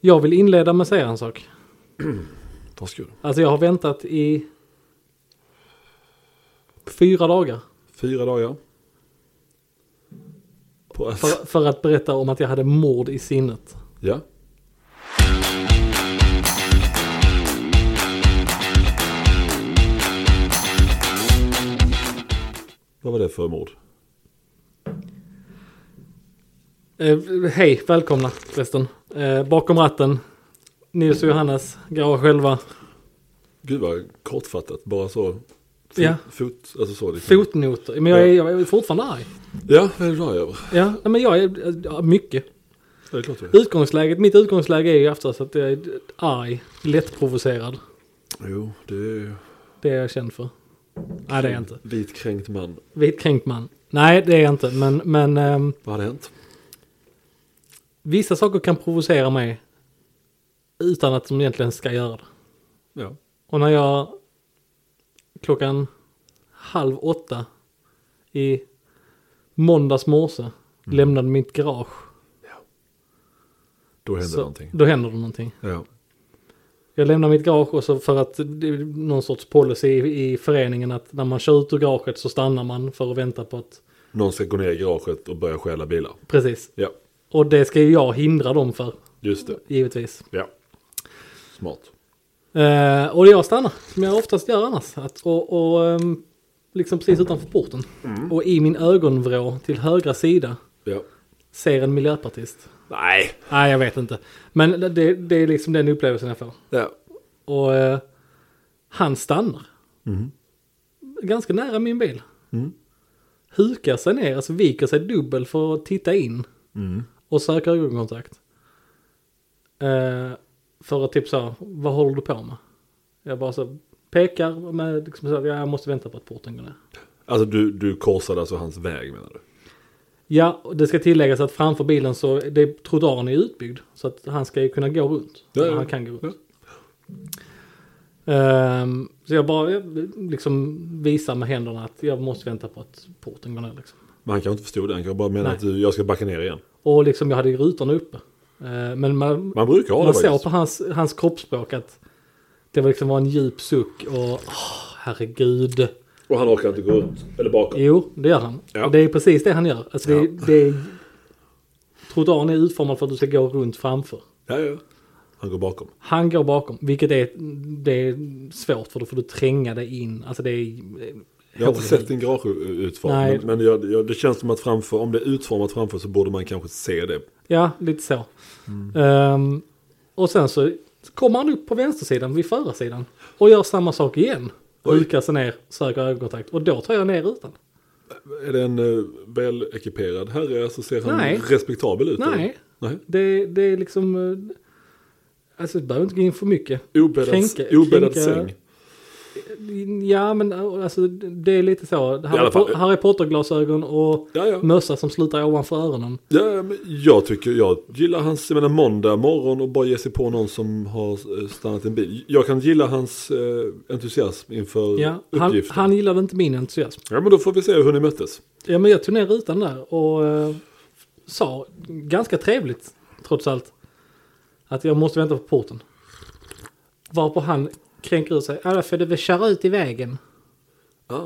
Jag vill inleda med att säga en sak. Varsågod. Alltså jag har väntat i fyra dagar Fyra dagar. På att... för, för att berätta om att jag hade mord i sinnet. Ja. Vad var det för mord? Eh, hej, välkomna förresten. Eh, bakom ratten, Nils och Johannes, garage själva. Gud vad kortfattat, bara så. Fot, Ja. fot alltså så liksom. Fotnoter, men jag är, jag är fortfarande arg. Ja, vad är du arg över? Ja, nej, men jag är, ja, mycket. Ja, det är klart du är. Utgångsläget, mitt utgångsläge är ju oftast att jag är arg, lättprovocerad. Jo, det är ju... Det är jag känd för. Nej, det är jag inte. Vit kränkt man. Vitkränkt man. Nej, det är jag inte, men, men ehm, Vad hade hänt? vissa saker kan provocera mig utan att de egentligen ska göra det. Ja. Och när jag klockan halv åtta i måndags morse lämnade mitt garage. Då hände så, någonting. Då händer det någonting. Ja. Jag lämnar mitt garage och så för att det är någon sorts policy i, i föreningen att när man kör ut ur garaget så stannar man för att vänta på att... Någon ska gå ner i garaget och börja stjäla bilar. Precis. Ja, Och det ska ju jag hindra dem för, just det. givetvis. Ja. Smart. Eh, och jag stannar, som jag oftast gör annars. Att, och och ehm, liksom precis utanför porten. Och i min ögonvrå till högra sida Ja. ser en miljöpartist. Nej. Nej, jag vet inte. Men det, det är liksom den upplevelsen jag får. Ja. Och eh, han stannar. Ganska nära min bil. Hukar sig ner, alltså viker sig dubbel för att titta in. Och söker ögonkontakt. Eh, för att typ så, vad håller du på med? Jag bara så pekar med, liksom så, här, "Ja, jag måste vänta på att porten går ner. Alltså du, du korsade alltså hans väg menar du? Ja, och det ska tilläggas att framför bilen så det, trottoaren är utbyggd. Så att han ska ju kunna gå runt. Ja, Eller ja. Han kan gå runt. Ja. Ehm, så jag bara jag, liksom visar med händerna att jag måste vänta på att porten går ner. Liksom. Men han kanske inte förstod det, han kanske bara menade Nej. att du, jag ska backa ner igen. Och liksom jag hade ju rutorna uppe. Ehm, men man, Man brukar ha det man såg faktiskt. på hans, hans kroppsspråk att det var liksom var en djup suck och åh, herregud. Och han orkar inte gå ut, eller bakåt. Jo, det gör han. Ja. Det är precis det han gör. Alltså det, Ja. det är, trottoaren är utformad för att du ska gå runt framför. Ja, ja. Han går bakom. Han går bakom, vilket är, det är svårt för då får du tränga dig in. Alltså det är... Jag har inte sett din garage utform, Nej. men, men jag, jag, det känns som att framför, om det är utformat framför så borde man kanske se det. Ja, lite så. Mm. Ehm, och sen så kommer han upp på vänstersidan vid förarsidan och gör samma sak igen. Oj. Hukar sig ner, söker ögonkontakt och då tar jag ner rutan. Är det en eh, välekiperad herre så ser han Nej. respektabel ut? eller? Nej. Nej. Det, det är liksom... eh, Alltså du behöver inte gå in för mycket. Obäddad, Kränka- obäddad kränka- säng. Ja men alltså det är lite så. Harry, alla fall. Po- Harry Potter-glasögon och Ja, ja. mössa som slutar ovanför öronen. Ja, men jag tycker, jag gillar hans, jag menar måndag morgon och bara ge sig på någon som har eh, stannat i en bil. Jag kan gilla hans eh, entusiasm inför Ja, han, uppgiften. han gillade inte min entusiasm. Ja, men då får vi se hur ni möttes. Ja, men jag tog ner rutan där och eh, sa ganska trevligt trots allt att jag måste vänta på porten. Varpå han kränker ut sig. Ja, för du vill köra ut i vägen. Ah.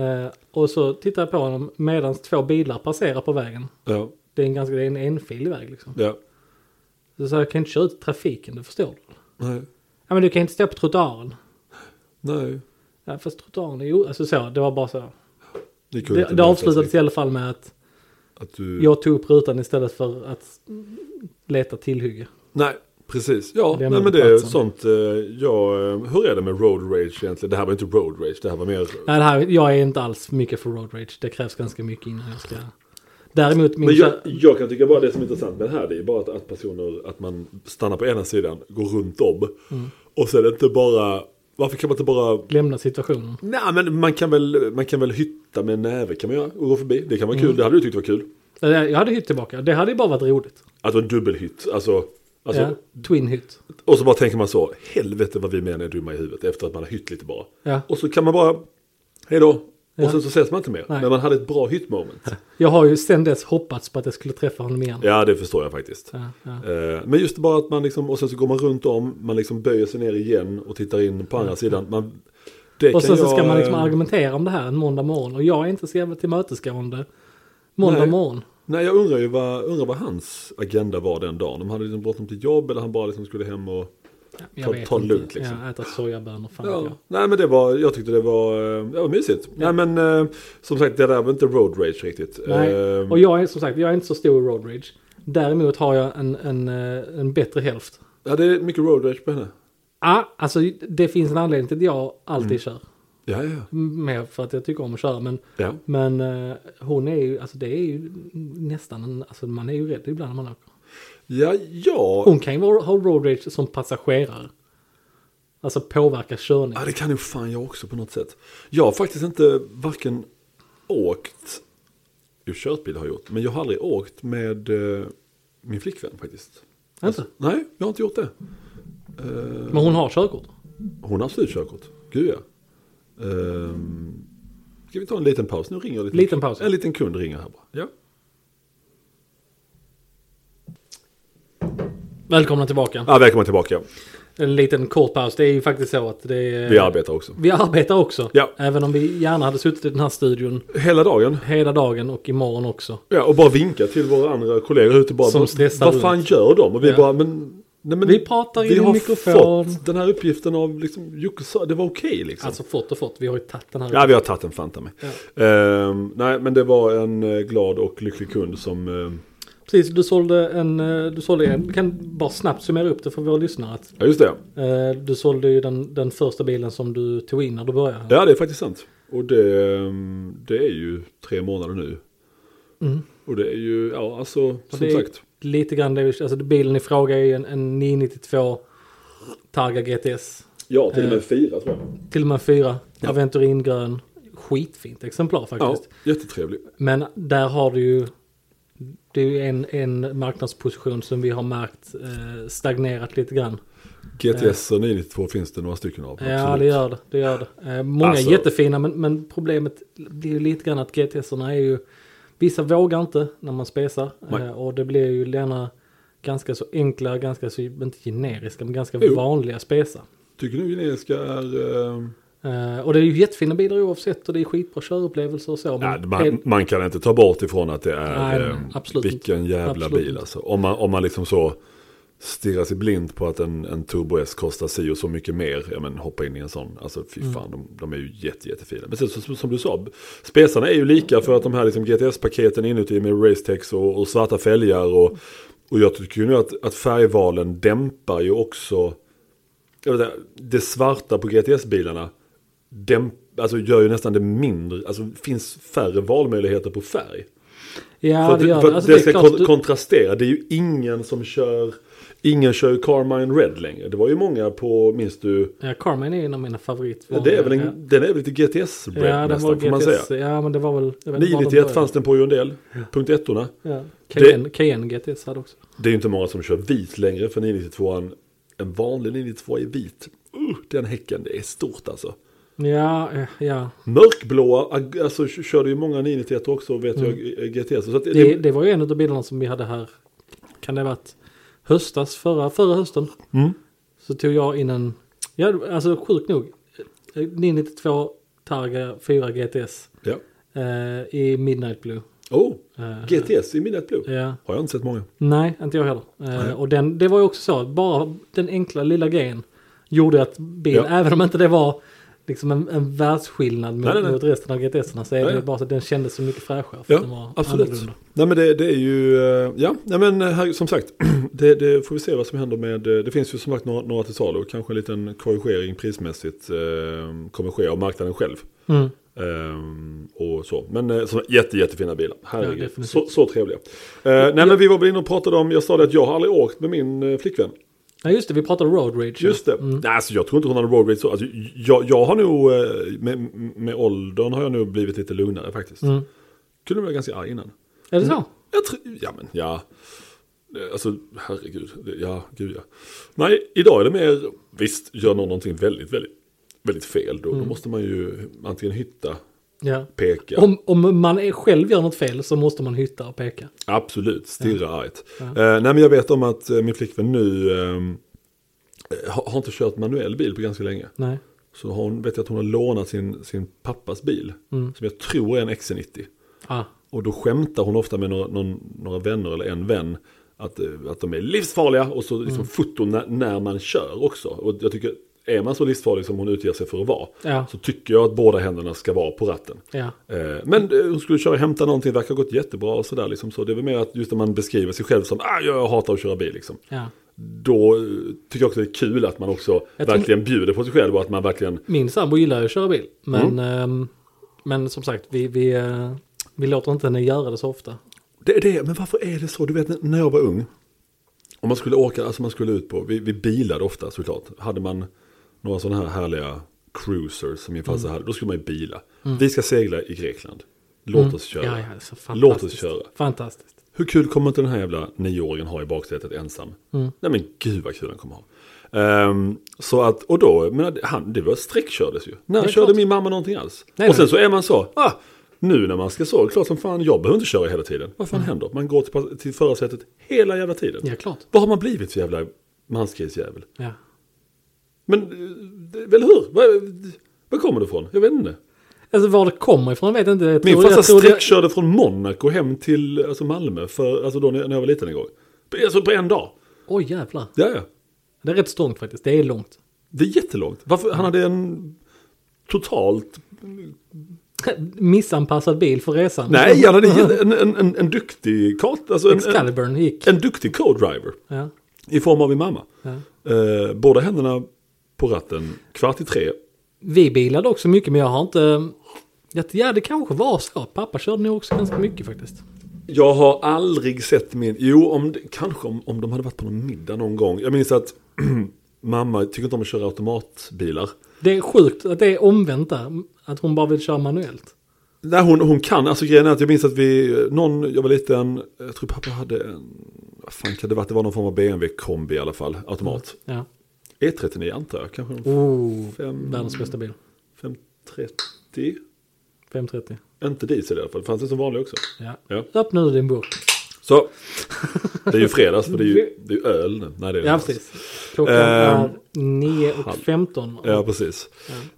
Eh, och så tittar jag på honom medan två bilar passerar på vägen. Ja, Det är en ganska, det är en enfilig väg liksom. ja. Så sa jag, jag kan inte köra ut i trafiken, det förstår du. Nej, Ja, men du kan inte stå på trottoaren. nej. Ja, fast trottoaren är ju, alltså så, det var bara så. Ni kunde Det, inte det mötas avslutades i riktigt. alla fall med att Att du... jag tog upp rutan istället för att leta tillhygge. Nej, precis. Ja, Lämna nej, men på det är platsen. sånt. Eh, ja, eh, hur är det med road rage egentligen? Det här var inte road rage, det här var mer... Nej, det här, jag är inte alls mycket för road rage. Det krävs ganska mycket innan jag ska... Däremot min... Men jag, kär- jag kan tycka bara det som är intressant med det här det är bara att, att personer, att man stannar på ena sidan, går runt om. Mm. Och sen inte bara, varför kan man inte bara, Lämna situationen. nej men man kan väl, man kan väl hytta med en näve kan man göra och gå förbi. Det kan vara kul, Mm. det hade du tyckt var kul. Eller, Jag hade hytt tillbaka. Det hade ju bara varit roligt. Alltså en dubbelhytt, alltså. alltså ja, twin hytt. Och så bara tänker man så, helvete vad vi män är dumma i huvudet efter att man har hytt lite bara. Ja. Och så kan man bara, hej då, Och sen så ses man inte mer. Nej. Men man hade ett bra hit moment. Jag har ju sen dess hoppats på att jag skulle träffa honom igen. Ja, det förstår jag faktiskt. Ja, ja. Eh, Men just bara att man liksom, och sen så går man runt om, man liksom böjer sig ner igen och tittar in på andra sidan. Man, det Och sen kan så ska jag, man liksom eh, argumentera om det här en måndag morgon. Och jag är inte så jävla tillmötesgående måndag Nej. morgon. Nej, jag undrar ju vad, undrar vad hans agenda var den dagen. Om han hade liksom bråttom till jobb eller han bara liksom skulle hem och... Ja, jag Ta- vet ta inte. lugnt, liksom. Ja, äta sojabönor. Fan Ja. vet jag. Nej, men det var, jag tyckte det var, eh, det var mysigt. Nej, men eh, som sagt, det där var inte road rage riktigt. Nej. Eh, Och jag är som sagt, jag är inte så stor i road rage. Däremot har jag en, en, eh, en bättre hälft. Ja, det är mycket road rage på henne. Ah, alltså det finns en anledning till att jag alltid kör. Ja, ja. M- Mer för att jag tycker om att köra. Men, ja. men eh, hon är ju, alltså det är ju nästan en, alltså man är ju rädd ibland när man åker. Ja, ja. Hon kan ju vara- ha road rage som passagerare. Alltså påverka körning. Ja, det kan nog fan jag också på något sätt. Jag har faktiskt inte varken åkt, jo kört bil har jag gjort, men jag har aldrig åkt med eh, min flickvän faktiskt. Inte? Nej, jag har inte gjort det. alltså, Eh, Men hon har körkort. hon har absolut körkort, gud ja. Ehm, ska vi ta en liten paus? Nu ringer en liten, Liten paus. En liten kund ringer här bara. Ja. Välkomna tillbaka. Ah, välkommen tillbaka, En liten kort paus. Det är ju faktiskt så att det är... vi arbetar också. Vi arbetar också. Ja. Även om vi gärna hade suttit i den här studion Hela dagen. hela dagen och imorgon också. Ja, och bara vinka till våra andra kollegor ute bara. Som "Vad- stressar Vad fan gör de? Och vi Ja. bara, men... Nej, men Vi pratar i vi din har mikrofon. fått den här uppgiften av liksom, Jocke sa, det var okej liksom. Alltså fått och fått. Vi har ju tagit den här. ja, vi har tagit en Fanta med. Ja. Ehm, nej, men det var en eh, glad och lycklig kund som... ehm, Precis, du sålde en... eh, Du sålde en. Vi kan bara snabbt summera upp det för våra lyssnare. Att, ja, just det. eh, du sålde ju den, den första bilen som du tog in när du började. Ja, det är faktiskt sant. Och det, ehm, det är ju tre månader nu. Mm. Och det är ju, ja alltså, som det är- sagt. Lite grann det vi... Alltså bilen i fråga är ju en, en 992 Targa GTS. Ja, till och eh, med fyra tror jag. Till och med en 4. Ja. Aventurin grön. Skitfint exemplar Ja, faktiskt. jättetrevlig. Men där har du ju... Det är ju en, en marknadsposition som vi har märkt eh, stagnerat lite grann. GTS och 992 finns det några stycken av. Ja, absolut. det gör det. det, gör det. Eh, många Alltså- är jättefina, men, men problemet det är ju lite grann att GTS-erna är ju... Vissa vågar inte när man spesar. Nej. Eh, och det blir ju gärna ganska så enkla, ganska så, inte generiska, men ganska Jo. vanliga spesar. Tycker du generiska är... ehm, Eh, och det är ju jättefina bilar oavsett och det är skitbra körupplevelser och så. Ja, men man, helt- man kan inte ta bort ifrån att det är Mm. Nej, nej, eh, absolut vilken jävla Absolut bil inte. alltså. Om man, om man liksom så stirrar sig blind på att en, en Turbo S kostar si och så mycket mer, ja men hoppa in i en sån, alltså fy fan, de, de är ju jätte, jättefina. Men sen, så, som du sa, spesarna är ju lika för att de här liksom GTS-paketen inuti med racetex och, och svarta fälgar och, och jag tycker ju nu att, att färgvalen dämpar ju också, jag vet inte, det svarta på GTS-bilarna dämp, alltså gör ju nästan det mindre, alltså finns färre valmöjligheter på färg. ja, för att, det gör för det. att Alltså, det, det är ska klart kon- du- kontrastera, det är ju ingen som kör, ingen kör ju Carmine Red längre. Det var ju många på, minns du, Ja, Carmen är en av mina favoritvaror. det är väl en, Ja. den är väl lite GTS-red Ja, den nästan var får man säga. GTS. Ja, men det var väl... jag vet inte var de 991 började. fanns den på ju en del, punkt ettorna. Ja. Cayenne, Cayenne GTS hade också. Det är ju inte många som kör vit längre för 992an, en vanlig 992 är vit. Uh, den häcken, det är stort alltså. Ja, eh, ja. Mörkblåa, ag- alltså k- körde ju många 991 också vet jag, eh, GTS. Så att det, Mm. Det, det var ju en av bilderna som vi hade här. Kan det ha varit höstas, förra, förra hösten? Mm. Så tog jag in en, ja, alltså sjukt nog, eh, 992 Targa 4 GTS ja. eh, i Midnight Blue. Oh, Eh, GTS i Midnight Blue. ja. Har jag inte sett många. Nej, inte jag heller. Eh, Nej. och den, det var ju också så, att bara den enkla lilla grejen gjorde att bil, Ja. även om inte det var liksom en, en världsskillnad mot, Nej, nej, nej. mot resten av GTS-erna så är Nej. det bara så att den kändes så mycket fräschare. För Ja, att den var absolut. annorlunda. Nej men det, det är ju, eh, ja, nej, men eh, här, som sagt, det, det får vi se vad som händer med, eh, det finns ju som sagt några, några till salu, kanske en liten korrigering prismässigt eh, kommer ske av marknaden själv. Mm. Ehm, och så. Men eh, så, jätte, jättefina bilar. Herregud. definitivt. så, så trevliga. Eh, nej men vi var väl inne och pratade om, jag sa det att jag har aldrig åkt med min eh, flickvän. Ja, just det, vi pratade road rage. Just det. Mm. Nej, alltså, jag tror inte hon hade road rage så. Alltså, jag, jag har nog, eh, med, med åldern har jag nog blivit lite lugnare faktiskt. Mm. Kunde vara ganska arg innan. Är det så? Jag tror, ja men ja. Eh, Alltså herregud, Det- ja gud ja. Nej, idag är det mer, visst gör någon någonting väldigt, väldigt, väldigt fel då. Då måste man ju antingen hitta Ja. peka. Om, om man är- själv gör något fel så måste man hytta och peka. Absolut, stirra argt. Eh, nej men jag vet om att eh, min flickvän nu ehm, eh, har, har inte kört manuell bil på ganska länge. Nej. Så har hon, vet jag att hon har lånat sin, sin pappas bil. Som jag tror är en E XC90. Ah. Och då skämtar hon ofta med några, någon, några vänner eller en vän. Att, eh, att de är livsfarliga och så liksom Mm. foton när, när man kör också. Och jag tycker, är man så livsfarlig som hon utger sig för att vara. Ja. Så tycker jag att båda händerna ska vara på ratten. Ja. Eh, Men eh, hon skulle köra och hämta någonting, verkar ha gått jättebra och sådär. Liksom så. Det är väl mer att just när man beskriver sig själv som ah, jag hatar att köra bil. Liksom. ja. Då eh, tycker jag också det är kul att man också Jag tror- verkligen bjuder på sig själv och att man verkligen... Min sambo gillar ju att köra bil. Mm. Men, ehm, men som sagt, vi, vi, eh, vi låter inte henne göra det så ofta. Det är det, men varför är det så? Du vet när jag var ung. Om man skulle åka, alltså man skulle ut på, vi, vi bilade ofta såklart. Hade man några sådana här härliga cruisers som min Mm. farsa hade, då skulle man ju bila. Vi ska segla i Grekland. Låt oss köra. Mm. Ja, ja, så fantastiskt. Låt oss köra. Fantastiskt. Hur kul kommer inte den här jävla nioåringen ha i baksätet ensam? Mm. Nej men gud vad kul han kommer ha. Ehm, så att, och då, men han, det var sträckkördes ju. När är körde klart. min mamma någonting alls? Nej, och sen nej. så är man så, ah, nu när man ska så, klart som fan, jag behöver inte köra hela tiden. Vad fan händer? Man går till, pas- till förarsätet hela jävla tiden. Ja, klart. Vad har man blivit för jävla mansgrisjävel? Ja. Men, eh, eller hur? Var, var kommer det ifrån? Jag vet inte. Alltså var det kommer ifrån vet jag inte. Jag Min tror- jag farsa tror det- sträckkörde från Monaco hem till alltså Malmö, för, alltså då när när jag var liten en gång. Alltså på en dag. Oj jävlar. Ja, ja. Det är rätt stångt faktiskt. Det är långt. Det är jättelångt. Varför? Han hade en totalt... Missanpassad bil för resan. Nej, han hade jä- en, en, en, en duktig kart, alltså en, en, Excaliburn gick. en duktig co-driver Ja. i form av min mamma. Ja. Eh, båda händerna på ratten, kvart i tre. Vi bilade också mycket men jag har inte... Jag- Ja det kanske var så. Pappa körde nog också ganska mycket faktiskt. Jag har aldrig sett min... Jo, om, det- kanske om, om de hade varit på någon middag någon gång. Jag minns att mamma tycker inte om att köra automatbilar. Det är sjukt att det är omvänt där. Att hon bara vill köra manuellt. Nej, hon, hon kan. Alltså grejen är att jag minns att vi, någon, jag var liten, jag tror pappa hade en, vad fan kan det vara, det var någon form av BMW-kombi i alla fall, automat. Ja. E39 antar jag, kanske en Oh, Fem- världens bästa bil. 530. 530. Inte diesel i alla fall, det fanns det som vanlig också. Ja. Ja. Öppna nu din burk. Så, det är ju fredags för det är ju, det är ju öl nu. Nej, det är det Ja, inte precis. Klockan Ehm, är 9 och 15. Ja, precis.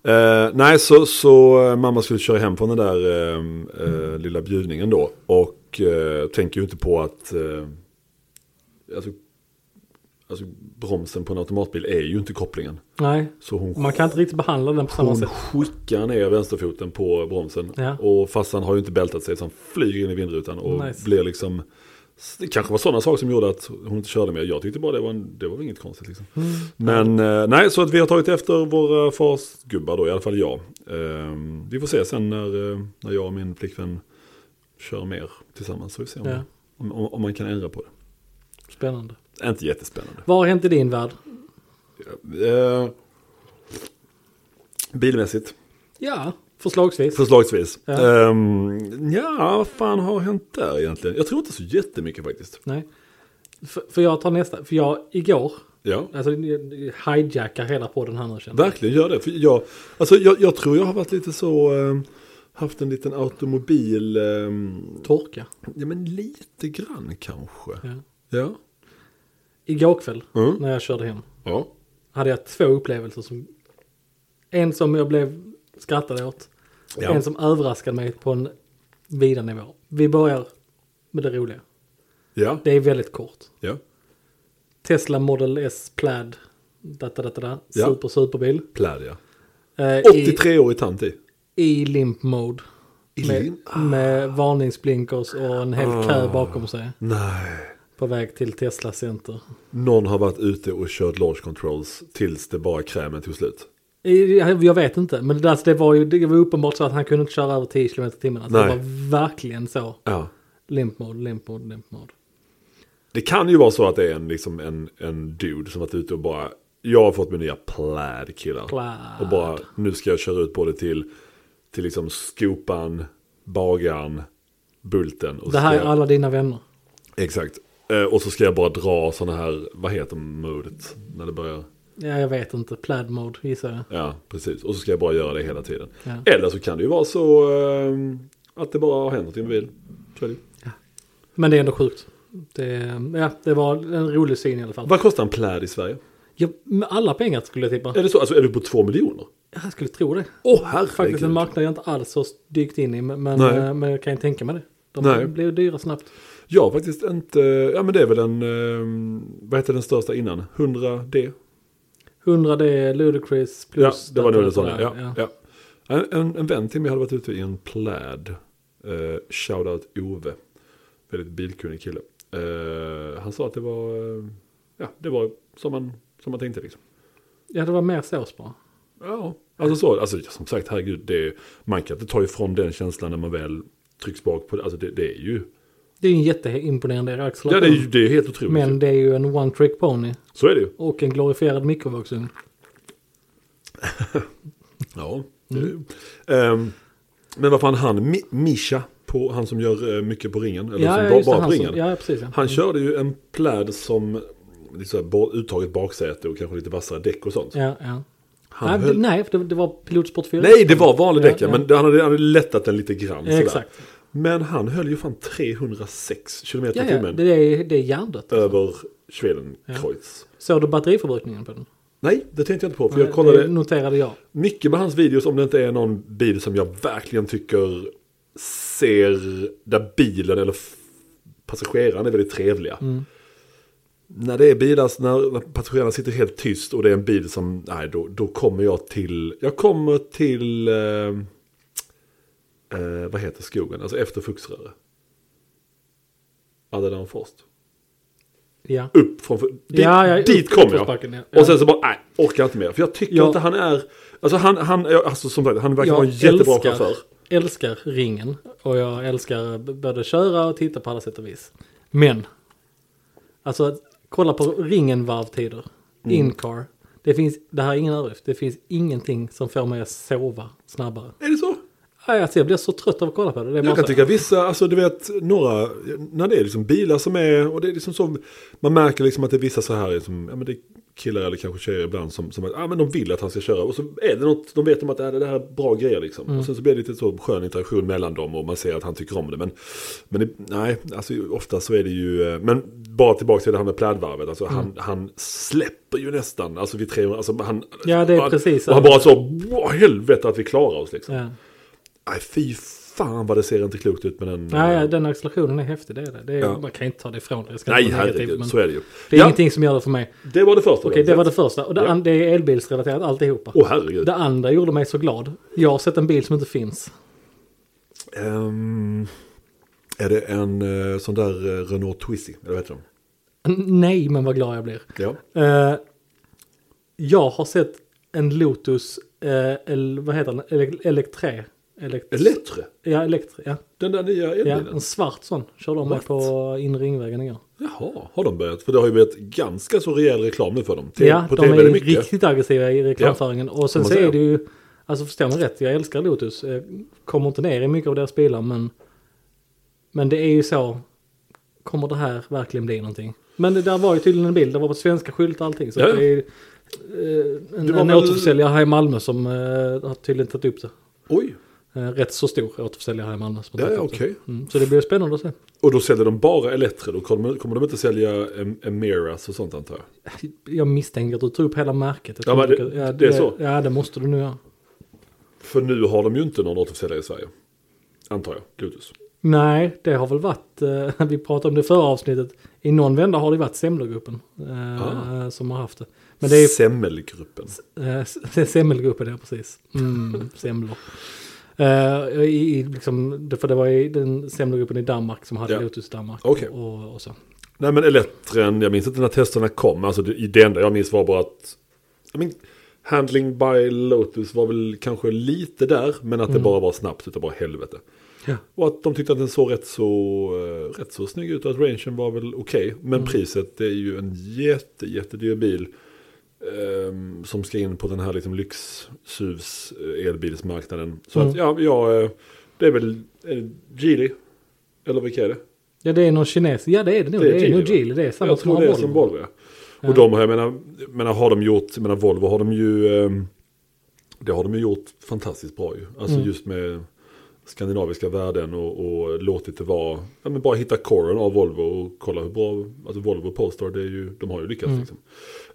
Eh, nej, så, så eh, mamma skulle köra hem från den där eh, eh, lilla bjudningen då. Och eh, tänker ju inte på att eh, alltså, alltså, bromsen på en automatbil är ju inte kopplingen. Nej, Så hon, man kan inte riktigt behandla den på samma hon sätt. skickar ner vänsterfoten på bromsen. Ja. Och farsan har ju inte bältat sig så han flyger in i vindrutan och Nice. blir liksom... Det kanske var sådana saker som gjorde att hon inte körde mer. Jag tyckte bara det var, en, det var inget konstigt. Liksom. Mm. Men eh, nej, så att vi har tagit efter våra farsgubbar då, i alla fall jag. Ehm, vi får se sen när, eh, när jag och min flickvän kör mer tillsammans. Så vi får se om, Ja. om, om, om man kan ändra på det. Spännande. Inte jättespännande. Vad har hänt i din värld? Eh, bilmässigt. Ja, förslagsvis. Förslagsvis. Ja. Ja. ja, vad fan har hänt där egentligen? Jag tror inte så jättemycket faktiskt. Nej. För, för jag tar nästa. För jag, igår, Ja, alltså jag hijackar hela podden här nu känner jag. verkligen gör det. För jag, alltså, jag, jag tror jag har varit lite så, ehm, haft en liten automobil, ehm, Torka. ja men lite grann kanske. Ja. Ja. Igår kväll, Mm. när jag körde hem, Ja. hade jag två upplevelser som... En som jag blev skrattad åt. och Ja. En som överraskade mig på en vida nivå. Vi börjar med det roliga. Ja. Det är väldigt kort. ja. Tesla Model S Plaid. Da, da, da, da, da. Ja. Super, superbil. Plaid ja. Eh, i, 83-årig tant i. I limp mode. I Med, limp? med varningsblinkers och en hel kö bakom sig. Nej. På väg till Tesla Center. Någon har varit ute och kört launch controls tills det bara krämen tog slut. I- Eh, Jag jag vet inte, men det, alltså, det, var ju, det var uppenbart så att han kunde inte köra över 10 km i timmen. Alltså, det Nej. var verkligen så. Ja. Limp mode, limp mode, limp mode. Det kan ju vara så att det är en, liksom en, en dude som varit ute och bara, jag har fått min nya plaid killar. Plaid. Och bara, nu ska jag köra ut både till, till liksom skopan, bagaren, bulten. Och Det här ska är jag, alla dina vänner. Exakt. Eh, och så ska jag bara dra sådana här, vad heter modet? När det börjar, Ja, jag vet inte. Plaid mode gissar jag. Ja, precis. Och så ska jag bara göra det hela tiden. Ja. Eller så kan det ju vara så ehm, att det bara har hänt något i en bil. Så är det. ju. Men det är ändå sjukt. Det, ja, det var en rolig syn i alla fall. Vad kostar en pläd i Sverige? Ja, med alla pengar skulle jag tippa. Är det så? Alltså är du på två miljoner? Jag skulle tro det. Åh Faktiskt en herregud. marknad jag inte alls har dykt in i, men, men, Nej. men jag kan ju tänka mig det. De Nej. blev dyra snabbt. Jag har faktiskt inte, ja men det är väl en, ehm, vad hette den största innan? 100D? 100 D, Ludacris Ja, plus... det var nog det sån sån ja. ja. ja. En, en, en vän till mig hade varit ute i en pläd. Eh, Shoutout Ove. Väldigt bilkunnig kille. Eh, han sa att det var, eh, ja det var som man, som man tänkte liksom. Ja, det var mer sås bara. Ja, alltså så. Alltså, som sagt, herregud, det, man kan inte ta ifrån den känslan när man väl trycks bak på det. Alltså det, det är ju, Det är ju en jätteimponerande axel. ja, det, är ju- det är helt otroligt. Men det är ju en one trick pony. Så är det ju. Och en glorifierad mikrovågsugn. Ja, det är det ju. Ehm, men vad fan, han, Mi- Misha, på, han som gör eh, mycket på ringen, eller som bara, just det, bara på han som- ringen. Ja, precis. Ja. Han körde ju en pläd som, liksom, uttaget baksäte och kanske lite vassare däck och sånt. Ja, ja. Han nej, höll- nej, det, det var Pilotsport 4. Nej, det var vanlig Ja, däck, ja, ja. men han hade, han hade lättat den lite grann. Ja, sådär. exakt. Men han höll ju fan 306 km i Ja, ja, timmen det är, det är hjärndött. över Schwelenkreuz. Såg du batteriförbrukningen på den? Nej, det tänkte jag inte på. För jag Det kollade noterade jag. mycket med hans videos om det inte är någon bil som jag verkligen tycker ser där bilen eller f- passageraren är väldigt trevliga. När det är bilar, när när passagerarna sitter helt tyst och det är en bil som, nej då, då kommer jag till, jag kommer till, eh, eh, vad heter skogen, alltså efter Fuxröre. Ja, det är där de först. Ja. upp från... Dit, Ja, ja, dit upp- kom jag. uppförsbacken, ja. Och sen så bara, nej, orkar inte mer. För jag tycker Ja. inte han är... Alltså han, han jag- alltså som sagt, han verkar vara en jättebra chaufför. älskar ringen och jag älskar b- både köra och titta på alla sätt och vis. Men, alltså att kolla på ringen varvtider, Mm. in-car. Det, finns, det här är ingen överdrift, det finns ingenting som får mig att sova snabbare. Är det så? Nej, Alltså, jag blir så trött av att kolla på det. det är bara Jag kan så- tycka vissa, alltså du vet, några, när det är liksom bilar som är, och det är liksom så, man märker liksom att det är vissa så här, liksom, ja men det är killar eller kanske tjejer ibland som, som ja, men de vill att han ska köra. Och så är det något, de vet om att ja, det här är bra grejer liksom. Mm. Och sen så blir det lite så skön interaktion mellan dem och man ser att han tycker om det. Men, men det, nej, alltså ofta så är det ju, eh, men bara tillbaka till det här med plädvarvet, alltså Mm. han, han släpper ju nästan, alltså vid 300, alltså han... Ja, det är han, precis. Och han bara så, "Åh, helvete att vi klarar oss liksom. Ja. Nej, fy fan vad det ser inte klokt ut med den. Nej, eh, ja, den accelerationen är häftig. Det är det. Det är, Ja. Man kan inte ta det ifrån det. Jag ska nej inte vara negativ, herregud, men så är det ju. Det är ja, ingenting som gör det för mig. Okej, Det var det första. det var det första. Och det, Ja. an- det är elbilsrelaterat alltihopa. Åh herregud. Det andra gjorde mig så glad. Jag har sett en bil som inte finns. Ehm, är det en eh, sån där eh, Renault Twizy? Eller vad heter de? N- Nej, men vad glad jag blir. Ja. Eh, jag har sett en Lotus, eh, el, vad heter den, Ele- Elekträ. Elekt- Elettre? ja, Elekträ. Ja. Den där nya ja, elbilen? en svart sån körde om mig What? på inre ringvägen igår. Jaha, har de börjat? För det har ju blivit ganska så rejäl reklam nu för dem. Te- Ja, på de TV är är det ju mycket. riktigt aggressiva i reklamföringen. Och sen man så säga. är det ju, alltså förstå mig rätt, jag älskar Lotus. Jag kommer inte ner i mycket av deras bilar men, men det är ju så, kommer det här verkligen bli någonting? Men det där var ju tydligen en bild, det var på svenska skyltar och allting. Så Ja, att ja. det är eh, Det en, var en väl- återförsäljare här i Malmö som eh, har tydligen tagit upp det. Oj, Eh, rätt så stor återförsäljare här i Malmö. Som har ja, tagit ja upp det. okej. Mm, så det blir spännande att se. Och då säljer de bara Elettre? Då kommer, kommer de inte sälja em- Emeras och sånt antar jag? Jag misstänker att du tog upp hela märket. Jag Ja, tror men inte- det- det är så. Ja, det måste du nu göra. För nu har de ju inte någon återförsäljare i Sverige. Antar jag, Glutus. Nej, det har väl varit, eh, vi pratade om det i förra avsnittet, i någon vända har det varit Semlergruppen eh, Ah. som har haft det. Men det är Semmelgruppen. eh, s- det är Semmelgruppen, ja precis. Mm, semlor. Eh, i, i liksom, det- för det var ju den Semlergruppen i Danmark som hade Ja. Lotus Danmark. Okej. Och, och så. Nej men elektren, jag minns inte när testerna kom. Alltså det, det enda jag minns var bara att... Jag men, handling by Lotus var väl kanske lite där. Men att det bara var snabbt utav bara helvete. Ja. Och att de tyckte att den såg rätt så, eh, rätt så snygg ut. Och att rangen var väl okej. Men priset det är ju en jätte, jättedyr bil. ehm, som ska in på den här liksom lyxsuvs eh, elbilsmarknaden. Så Mm. att ja, jag, eh, det är väl är det Geely. Eller vilka är det? ja, det är någon kines. Ja, det är det nog. Det Det är är, nog Geely, va? Geely. Det är samma Jag som tror har det är Volvo. som Volvo. ja. Och de har, jag menar, jag menar, har de gjort, jag menar Volvo har de ju, ehm, det har de ju gjort fantastiskt bra ju. Alltså just med skandinaviska värden och, och låtit det vara, ja men bara hitta coren av Volvo och kolla hur bra, alltså Volvo Polestar, det är ju, de har ju lyckats liksom.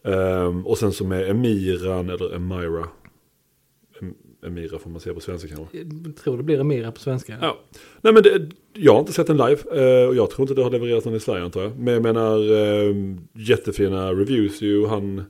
Ehm, och sen så med Emiran eller Emira, Em- Emira får man säga på svenska kanske. Jag tror det blir Emira på svenska. Ja. Nej, men det, jag har inte sett den live eh, och jag tror inte det har levererats någon i Sverige antar jag. Men jag menar eh, jättefina reviews ju. Han,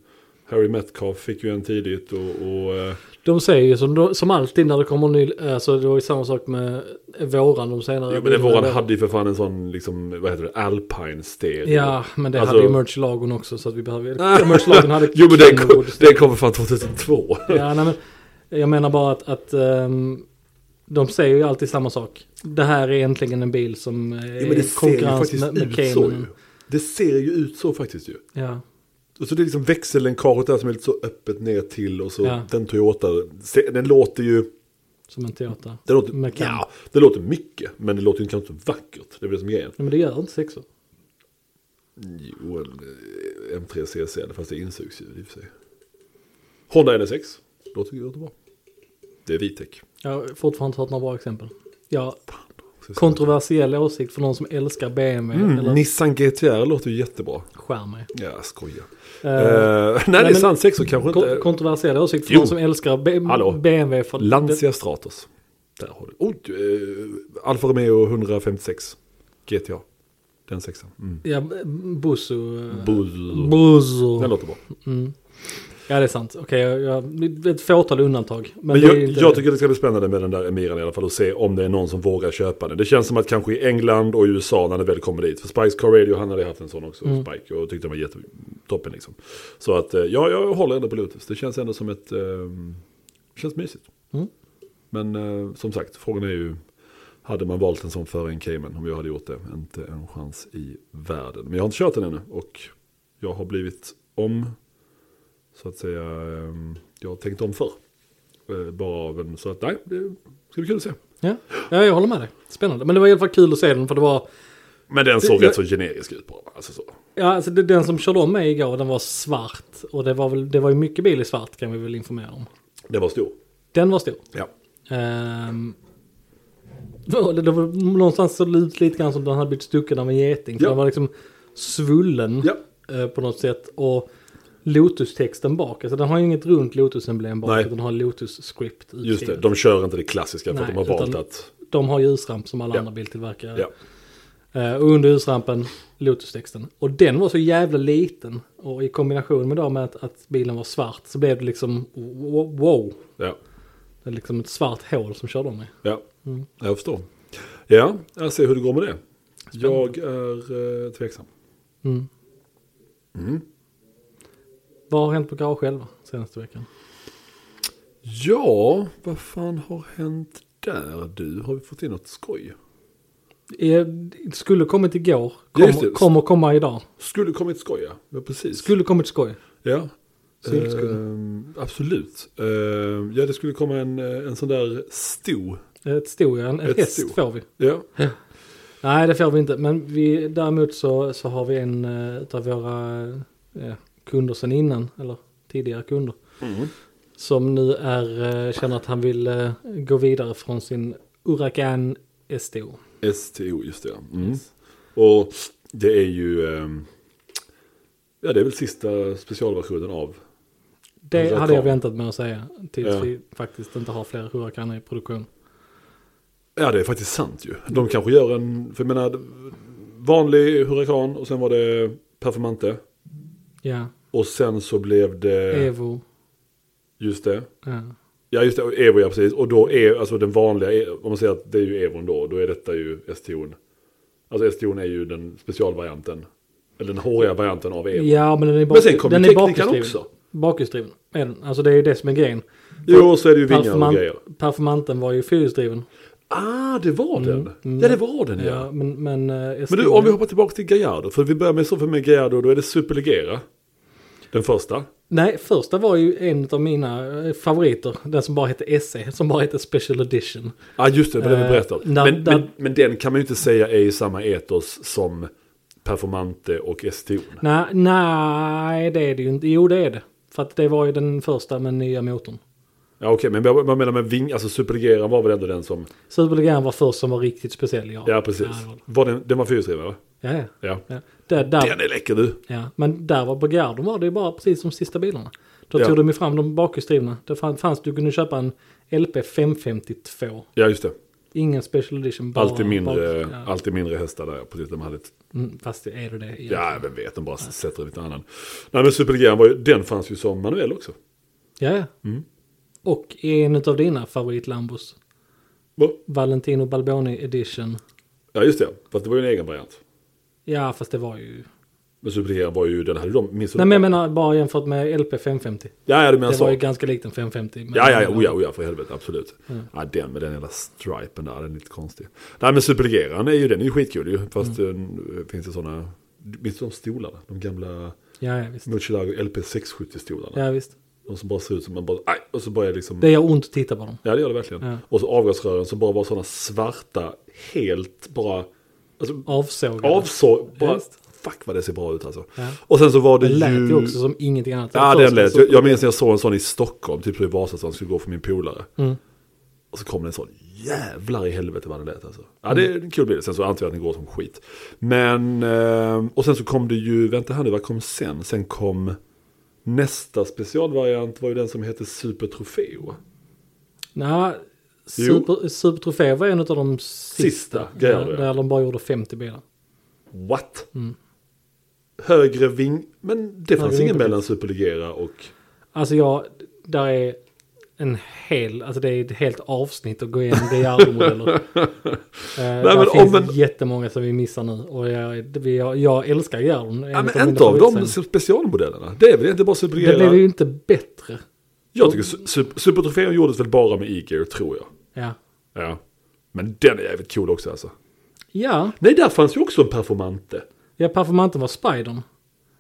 Harry Metcalf fick ju en tidigt och, och eh, De säger ju som, som alltid när det kommer ny, alltså det var ju samma sak med våran de senare. jo, men den våran bilarna. hade ju för fan en sån liksom, vad heter det, alpine stereo. Ja, men det Alltså- hade ju Merch-lagen också så att vi behöver... Merch-lagen hade Jo men den kom, Kenwood. den kom för fan 2002. Ja, nej, men jag menar bara att, att ehm, de säger ju alltid samma sak. Det här är egentligen en bil som eh, Jo, men det är ser ju konkurrens faktiskt med, med ut så ju. Cayman. Det ser ju ut så faktiskt ju. Ja. Och så det är liksom växellänkaget där som är lite så öppet ner till och så Ja. den Toyota. se- Den låter ju... Som en Toyota. Det låter, Med cam. ja, det låter mycket, men det låter ju kanske inte vackert. Det är väl det som är grejen. Nej, men det gör inte sexor. Jo, en eh, M3 CC, fast det är insugsljud i och för sig. Honda NSX, låter, låter bra. Det är Vitec. Jag har fortfarande inte hört några bra exempel. Ja, Ska vi se. kontroversiell åsikt för någon som älskar BMW. Mm, eller Nissan GTR låter ju jättebra. skär mig. Ja, jag skojar. Eh, Uh, nej, men- Nissan 6 kanske Ko- inte... kontroversiell åsikt för Jo. någon som älskar B- Hallå. BMW. För Lancia Stratos. Där har du. Oh, eh, Alfa Romeo 156 GTA. Den sexan. Mm. Ja, Busso. eh, Buzz. Busso. Den låter bra. Ja, det är sant. Okej, jag, jag, ett fåtal undantag. Men, Men det är jag, ju inte, jag tycker det ska bli spännande med den där Emiran i alla fall och se om det är någon som vågar köpa den. Det känns som att kanske i England och i USA när den väl kommer dit. För Spikes Car Radio, han hade haft en sån också, Mm. Spike, och tyckte den var jättetoppen liksom. Så att eh, ja, jag håller ändå på Lotus. Det känns ändå som ett... Eh, känns mysigt. Mm. Men eh, som sagt, frågan är ju... Hade man valt en sån före en Cayman, om jag hade gjort det, inte en chans i världen. Men jag har inte kört den ännu och jag har blivit om, så att säga, eh, jag har tänkt om förr. Eh, bara av en, så att nej, det ska bli kul att se. Ja. ja, jag håller med dig. Spännande. Men det var i alla fall kul att se den för det var... Men den såg Det- rätt så generisk ut bara. Alltså så. Ja, alltså det- den som körde om mig igår, den var svart. Och det var, väl, det var ju mycket bil i svart kan vi väl informera om. Den var stor. Den var stor. Ja. Ehm, det var, det var, någonstans så ut lite grann som den hade blivit stucken av en geting. För Ja. Den var liksom svullen Ja. eh, på något sätt. Och Lotus-texten bak, alltså den har ju inget runt Lotus-emblem bak, Nej. utan den har Lotus-script Just det, utskrivet. de kör inte det klassiska för Nej, att de har utan- valt att... De har ljusramp som alla Ja. andra biltillverkare. Ja. Eh, Och under ljusrampen, Lotus-texten. Och den var så jävla liten. Och i kombination med, då med att, att bilen var svart så blev det liksom wo- wow. Ja. Det är liksom ett svart hål som körde om mig. Ja, jag förstår. Ja, jag ser hur det går med det. Jag är eh, tveksam. Mm. Mm. Vad har hänt på Garage själva senaste veckan? Ja, vad fan har hänt där du? Har vi fått in något skoj? Eh, det Skulle kommit igår, Ja, just kommer, det. kommer komma idag. Skulle kommit skoj, ja. ja precis. Skulle kommit skoj. Ja. Syltskull. Ehm, absolut. Ehm, ja, det skulle komma en, eh, en sån där sto. Ett sto, ja. En, en Ett häst sto. får vi. Ja. Nej, det får vi inte. Men vi, däremot så, så har vi en eh, utav våra eh, kunder sen innan, eller tidigare kunder, Mm. som nu är, eh, känner att han vill eh, gå vidare från sin Huracan STO. STO, just det. ja. Mm. Och det är ju... ehm, ja, det är väl sista specialversionen av... Det Huracan. hade jag väntat med att säga tills Ja. vi faktiskt inte har fler Huracaner i produktion. Ja, det är faktiskt sant ju. De kanske gör en... För jag menar, vanlig Huracan och sen var det Performante. Ja, Och sen så blev det... Evo. Just det. Ja. Ja, just det. och Evo, ja precis. Och då är alltså den vanliga, om man säger att det är ju Evon då, då är detta ju STO'n. Alltså STO'n är ju den specialvarianten. Eller den håriga varianten av Evo. ja, men den är, bak, Men sen kom ju den är teknikan bakhjulsdriven. också. Bakhjulsdriven. är den. Alltså det är ju det som är grejen. Jo, och så är det ju vingar och Performant, grejer. performanten var ju fyrhjulsdriven. Ah, det var den. mm. Ja, det var den ja. Ja, men, men, eh, Men du, om vi hoppar tillbaka till Gallardo. För vi börjar med så för med Gallardo, då är det Superligera. Den första. Nej, första var ju en av mina eh, favoriter. Den som bara hette SE, som bara hette Special Edition. Ja, ah, just det, det var det vi Eh, berättade om. när- men, när- men, men den kan man ju inte säga är i samma etos som Performante och Estion. Nej, nej, det är det ju inte. Jo, det är det. För att det var ju den första med nya motorn. Ja, okej, men vad vad menar med ving, alltså Superlegeran var väl ändå den som, Superlegan var först som var riktigt speciell. Ja, ja precis. Ja, det var det. Var den, den var fyrhjulsdriven va? ja, ja. Ja. ja. Där, där, Den är läcker du. ja. Men där var Bogarden var det ju bara precis som sista bilarna. Då Ja. tog de ju fram de bakhjulsdrivna. Det fann- fanns, du kunde köpa en LP 552. Ja, just det. Ingen special edition. Bara, Alltid mindre, Bara, ja. alltid mindre hästar där, ja, precis. De hade ett, Mm, Fast är det det? egentligen? ja, vem vet, de bara sätter en lite annan. Nej, men Superlegeran var ju, den fanns ju som manuell också. Ja, ja. Mm. Och en av dina favoritlambos. Va? Valentino Balboni edition. Ja, just det. Fast det var ju en egen variant. Ja, fast det var ju... Men Superlegeran var ju, den hade de, minns du? Nej, men jag menar bara jämfört med LP 550. Ja, ja, du menar det så. var ju ganska likt en 550. men- Ja, ja, ja, oja, oja, för helvete, absolut. Mm. Ja, den med den jävla stripen där, den är lite konstig. Nej, men superlegeran är ju, den är ju skitkul ju. Fast Mm. eh, finns det sådana, minns du de stolarna? De gamla Ja, ja, visst. Murcielago LP 670-stolarna. Ja, visst. De som bara ser ut som man bara, aj, och så bara är liksom... Det gör ont att titta på dem. Ja, det gör det verkligen. Ja. Och så avgasrören som bara var sådana svarta, helt bara... Alltså, Avsågade. avsåg, bara... Just. Fuck vad det ser bra ut alltså. Ja. Och sen så var det, Det lät ju ju... också som ingenting annat. Ja, Först den lät. så- Jag, jag minns när jag såg en sån i Stockholm, typ i Vasastan, skulle gå för min polare. Mm. Och så kom det en sån, jävlar i helvete vad det lät alltså. Ja, det är Mm. en kul bild. Sen så antar jag att den går som skit. Men, eh, och sen så kom det ju, vänta här nu, vad kom sen? Sen kom nästa specialvariant var ju den som hette Super Trofeo. Nej, Jo. Super, Super Trofeo var en av de sista. Sista grejerna, ja, ja. Där de bara gjorde 50 bilar. What? Högre ving, men det fanns Mm. Högre ingen ving- mellan Superligera och... Alltså jag, där är en hel, alltså det är ett helt avsnitt att gå igenom DRO-modeller. eh, där men om finns en- jättemånga som vi missar nu och jag, det- vi- jag, jag älskar Gerdon. Ja, men inte av de specialmodellerna. Det är väl inte bara Superligera? Det blev ju inte bättre. Jag tycker su- su- Supertrofén gjordes väl bara med E-gear, tror jag. Ja. Ja. Men den är jävligt cool också alltså. Ja, Nej, där fanns ju också en performante. ja performanten var Spidern.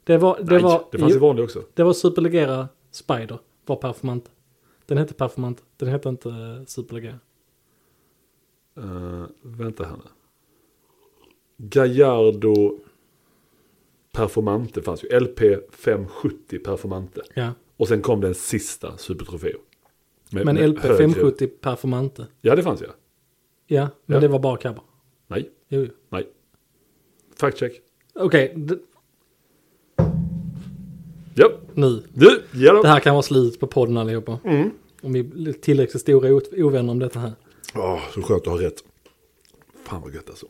Det var, det Nej, var, det fanns ju jo, vanlig också. det var Superlegera Spider var performant. Den hette performant, den hette inte eh, Superlegera. Eh, vänta här nu. Gallardo performante fanns ju. LP 570 performante. Ja. Och sen kom den sista Supertrofeo. Med- Men med LP högre- 570 performante. Ja, det fanns ju. Ja, men Ja. det var bara cabbar. Nej, Jo, jo. nej. Fact check. Okej, d- Ja, nu. nu, ja Det då. här kan vara slutet på podden allihopa. Om vi blir tillräckligt stora o- ovänner om detta här. Åh, så skönt att ha rätt. Fan vad gött alltså.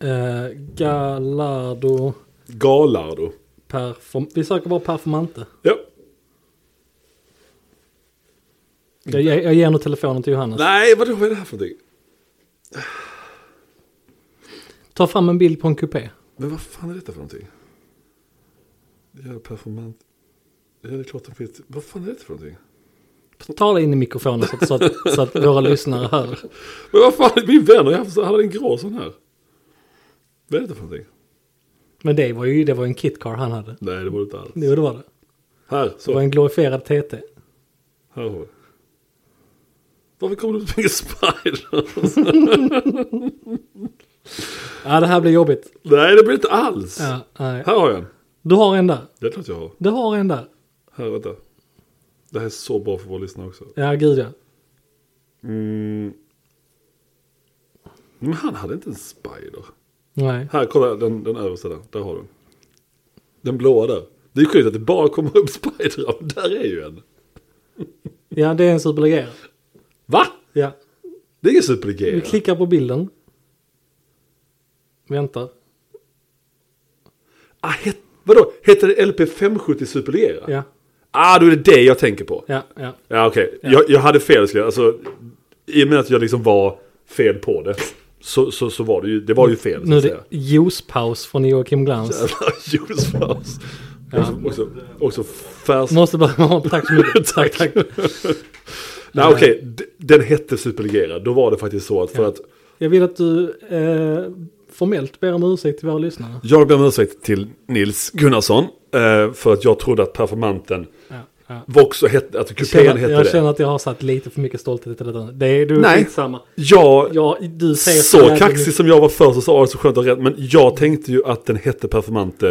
Eh, Gallardo Galardo. perform... Vi söker bara performante. Ja. Jag, jag, jag ger nu telefonen till Johannes. Nej, vadå, vad är det här för någonting? Ta fram en bild på en kupé. Men vad fan är detta för någonting? Jävla performant. Ja, det är klart den finns. Vad fan är detta för någonting? Tala in i mikrofonen så att, så att, så att våra lyssnare hör. Men vad fan, min vän har ju haft, han hade en grå sån här. Vad är detta för någonting? Men det var ju det var en kitcar han hade. Nej, det var det inte alls. Jo, det var det. Här, Det så. var en glorifierad TT. Här har vi. Varför kom du med spiders? Ja, det här blir jobbigt. Nej, det blir inte alls. Ja, nej. Här har jag en. Du har en där. Det är klart jag har. Du har en där. Här, vänta. Det här är så bra för våra lyssnare också. Ja, gud ja. Mm. Men han hade inte en spider. Nej. Här, kolla den, den översta där. Där har du den. Den blåa där. Det är sjukt att det bara kommer upp spidrar, men där är ju en. Ja, det är en superlegerad. Va? Ja. Det är ju Vi superlegerat. klickar på bilden. Vänta. Ah, het, vadå? Heter det LP570 superlegerat? Ja, Ah, då är det det jag tänker på. Ja, ja, ja. okej. Jag, jag hade fel, skulle jag. Alltså, i och med att jag liksom var fel på det. Så, så, så var det ju, det var ju fel. Så Nu är att säga. det juicepaus från Joakim Glans. Jävla juicepaus. Också, också, också färs... Måste bara, ja, tack så mycket. tack, tack. Nej okej, D- den hette superlegerad. Då var det faktiskt så att för att Jag vill att du eh, formellt ber om ursäkt till våra lyssnare. jag ber om ursäkt till Nils Gunnarsson eh, för att jag trodde att performanten Ja, Ja. Vox och hette, alltså Jag kupén känner, hette jag det. känner att jag har satt lite för mycket stolthet i detta. Det är du Nej. skitsamma. Jag, Ja, du säger så jävla kaxig mycket. som jag var först så sa jag det så skönt att ha rätt. Men jag tänkte ju att den hette Performante.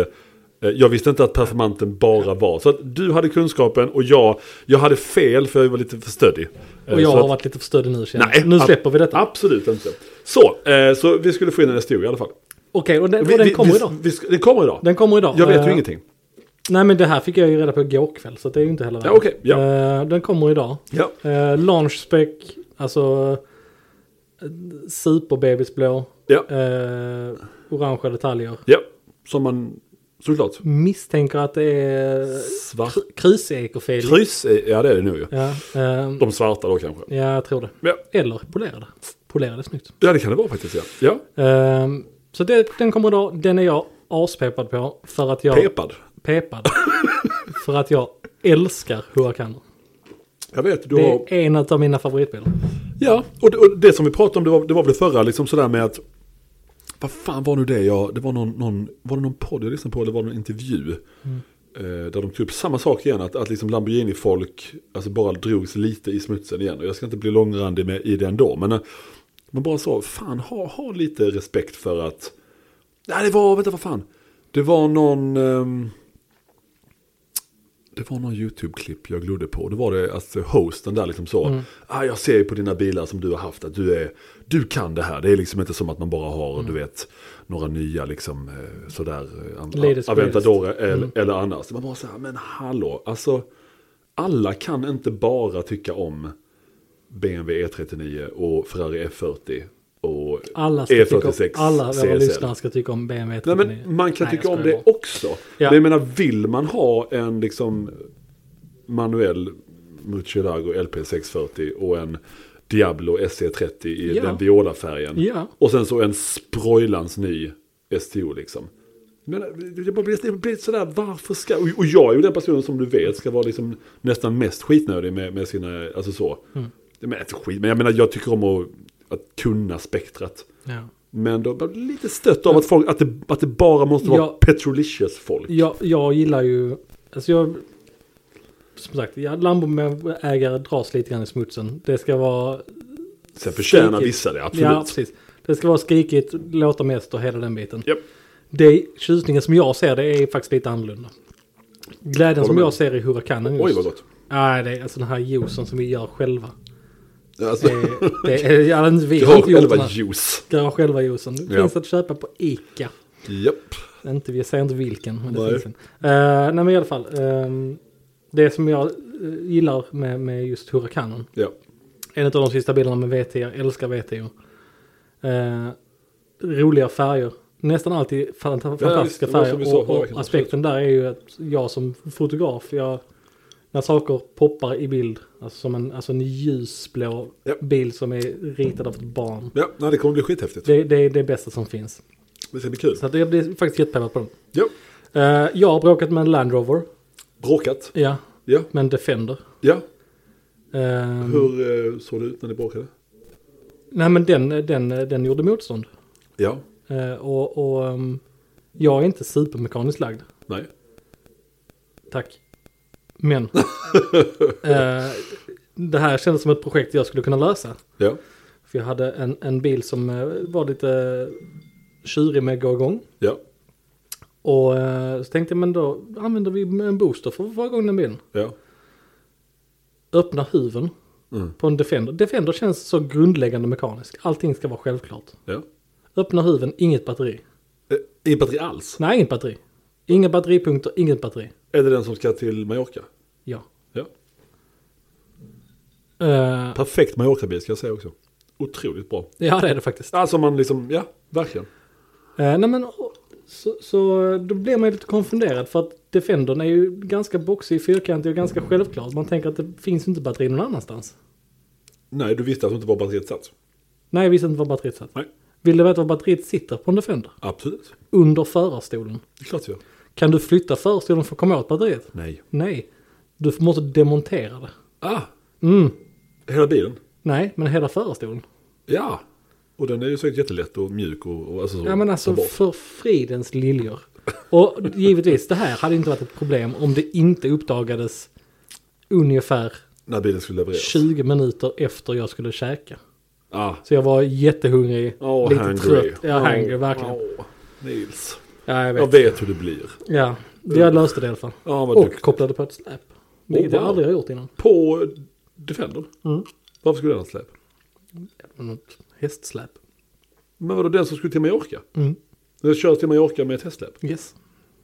Eh, Jag visste inte att performanten bara var. Så att du hade kunskapen och jag, jag hade fel för jag var lite för stöddig. Eh, Och jag så har att- varit lite för stödig nu känner Nej, jag. Nu ab- släpper vi detta. Absolut inte. Så, eh, så vi skulle få in en historia i alla fall. Okej, och den, Vi, och den vi, kommer vi, idag. Vi, sk- den kommer idag. Den kommer idag. jag vet ju Eh, ingenting. Nej men det här fick jag ju reda på igår kväll så det är ju inte heller Ja, okej, ja. Eh, Den kommer idag. Ja. Eh, launch spec, alltså eh, superbebisblå, Ja. eh, orangea detaljer. ja, som man såklart. Misstänker att det är Svart. kr- krusekofelig. Kryss, är- ja det är det nog ju. ja, eh, De svarta då kanske. ja, jag tror det. Ja. Eller polerade. Polerade är snyggt. ja, det kan det vara faktiskt. Ja, ja. Eh, så det, den kommer idag. Den är jag aspeppad på för att jag... pepad. Pepad. för att jag älskar Huracaner. Jag vet, du Det har... är en av mina favoritbilar. Ja, och det, och det som vi pratade om, det var, det var väl det förra, liksom sådär med att... Vad fan var nu det jag... Det var någon, någon, var det någon podd jag lyssnade på, eller var det någon intervju? Eh, där de tog upp samma sak igen, att, att liksom Lamborghini-folk alltså bara drogs lite i smutsen igen. Och jag ska inte bli långrandig med, i det ändå, men... eh, Man bara sa, fan ha, ha lite respekt för att... Nej, det var, vänta vad fan. Det var någon... ehm, det var någon YouTube-klipp jag glodde på. Det var det, alltså hosten där liksom så. Mm. Ah, jag ser ju på dina bilar som du har haft att du, är, du kan det här. Det är liksom inte som att man bara har, Mm. du vet, några nya liksom eh, sådär eh, an- Latest, Aventador eller, Mm. eller annars. Man bara så här, men hallå, alltså alla kan inte bara tycka om BMW E39 E och Ferrari F40 och E Alla, ska tycka om, E46 alla våra CSL. lyssnare ska tycka om BMW Nej, 39. men man kan Nej, jag tycka om skojar det bara. också. Ja. Men jag menar, vill man ha en liksom manuell Mucielago LP640 och en Diablo SE30 i Ja. den viola färgen. Ja. Och sen så en sprojlans ny STO liksom. Men det bara blir, det blir sådär, varför ska... Och och jag är ju den personen som du vet ska vara liksom nästan mest skitnödig med, med sina, alltså så. Mm. Men inte skit, men jag menar jag tycker om att, att kunna spektrat. Ja. Men då blev det lite stött av att, folk, att, det, att det bara måste vara Ja. petrolicious folk. Jag, jag gillar ju, alltså jag, som sagt, ja, Lambo-ägare dras lite grann i smutsen. Det ska vara, Sen förtjänar Skrikigt. vissa det, absolut. ja Ja, precis. Det ska vara skrikigt, låta mest och hela den biten. Japp. Det tjusningen som jag ser det är faktiskt lite annorlunda. Glädjen som med. jag ser i Hurrikanen just. Oj vad gott. Nej, det är alltså den här juicen som vi gör själva. Alltså, Det är, det är, ja, inte vi jag har har inte gjort den själva här. juice. Gör själva juicen. Det Ja. finns att köpa på Ica. Japp. Inte, jag säger inte vilken. Men det Nej. Finns en. Eh, nej men i alla fall. ehm, det som jag eh, gillar med, med just Hurrikanen. Ja. En av de sista bilarna med VT. Jag älskar VT. Eh, roliga färger. Nästan alltid fant- fantastiska visst, det var som vi färger. sa Och, förra och veckan, aspekten där är ju att jag som fotograf. Jag, när saker poppar i bild. Alltså som en, alltså en ljusblå Ja. bil som är ritad av ett barn. Ja, nej, det kommer bli skithäftigt. Det, Det, det är det bästa som finns. ska bli kul. Så att jag blir faktiskt jättepeppad på den. Ja. Eh, jag har bråkat med en Land Rover. Bråkat. Ja, Ja. med en Defender. ja. Ehm, Hur eh, såg det ut när ni bråkade? nej men den, den, den gjorde motstånd. Ja. Eh, och och ehm, jag är inte supermekaniskt lagd. Nej. Tack. Men. eh, det här kändes som ett projekt jag skulle kunna lösa. Ja. För jag hade en, en bil som eh, var lite tjurig med att gå igång. Ja. Och eh, så tänkte jag men då använder vi en booster för att få igång den bilen. Ja. öppna huven Mm. på en Defender. Defender känns så grundläggande mekanisk. Allting ska vara självklart. Ja. Öppna huven, inget batteri. Eh, Ingen batteri alls. Nej, inget batteri. Inga batteripunkter, inget batteri. Är det den som ska till Mallorca? Ja. Ja. Eh, Perfekt Mallorca-bil ska jag säga också. Otroligt bra. ja, det är det faktiskt. Alltså man liksom, ja, verkligen. Eh, nej, men och- så, så då blir man ju lite konfunderad för att Defendern är ju ganska boxig, fyrkantig och ganska självklar. Man tänker att det finns inte batteri någon annanstans. Nej, du visste att det inte var batteriet satt. Nej, jag visste inte var batteriet satt. Nej, Vill du veta var batteriet sitter på en Defender? absolut. Under förarstolen. Det är klart jag gör. Kan du flytta förarstolen för att komma åt batteriet? Nej. Nej, du måste demontera det. Ah, Mm. hela bilen? Nej, men hela förarstolen. Ja. Och den är ju säkert jättelätt och mjuk och, och alltså så. Ja, men ta alltså bort. för fridens liljor. Och givetvis, det här hade inte varit ett problem om det inte uppdagades ungefär När bilen skulle levereras. 20 minuter efter jag skulle käka. Ah. Så jag var jättehungrig, Oh, lite hungry. trött. Ja, Oh, hungry, verkligen. oh. Nils. Ja, jag Jag vet. vet hur det blir. Ja, jag löste det i alla fall. Ja, vad Och duktigt. kopplade på ett släp. Vilket jag wow. aldrig har gjort innan. På Defender? Mm. Varför skulle den ha släp? Något hästsläp. Men vadå, den som skulle till Mallorca? Mm. Den körs till Mallorca med ett hästsläp? Yes.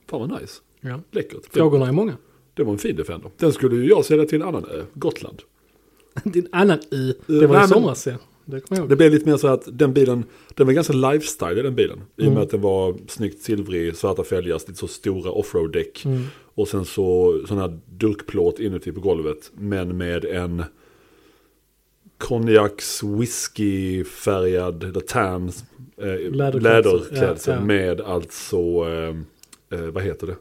Fan vad nice. Ja. Läckert. Det, Frågorna är många. det var en fin Defender. Den skulle ju jag sälja till en annan ö, Gotland. Din annan i. Nej, Det var i men- somras ja. Det kommer jag Det ihåg. blev lite mer så att den bilen, den var ganska lifestyle den bilen. I Mm. och med att den var snyggt silvrig, svarta fälgar, lite så stora offroad-däck. Mm. Och sen så sån här durkplåt inuti på golvet. Men med en konjaks whiskyfärgad, eller tan, eh, Läderklädsel. läderklädsel. Ja, ja. Med alltså, eh, eh, vad heter det?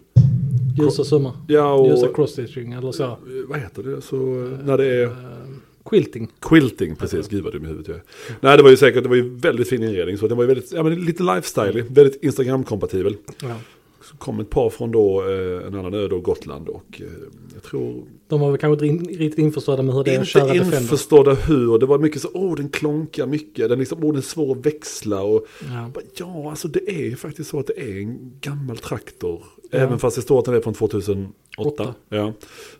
Ljus och sommar. Ja, och Ljusa cross-stitching eller så. eh, vad heter det? Så, eh, när det är... Quilting. Quilting, precis. Gud vad dum i huvudet jag är. Nej, det var ju säkert, det var ju väldigt fin inredning. Så den var ju väldigt, ja men lite lifestyle väldigt Instagram-kompatibel. Ja. Så kom ett par från då, eh, en annan ö då, Gotland och eh, jag tror... De var väl kanske inte in- riktigt införstådda med hur det är att köra Inte Defender. införstådda hur, det var mycket så, åh oh, den klonkar mycket, den liksom, åh den är svår att växla och... Ja. Bara, Ja, alltså det är ju faktiskt så att det är en gammal traktor. Även fast det står att den är från 2008. Åtta. Ja,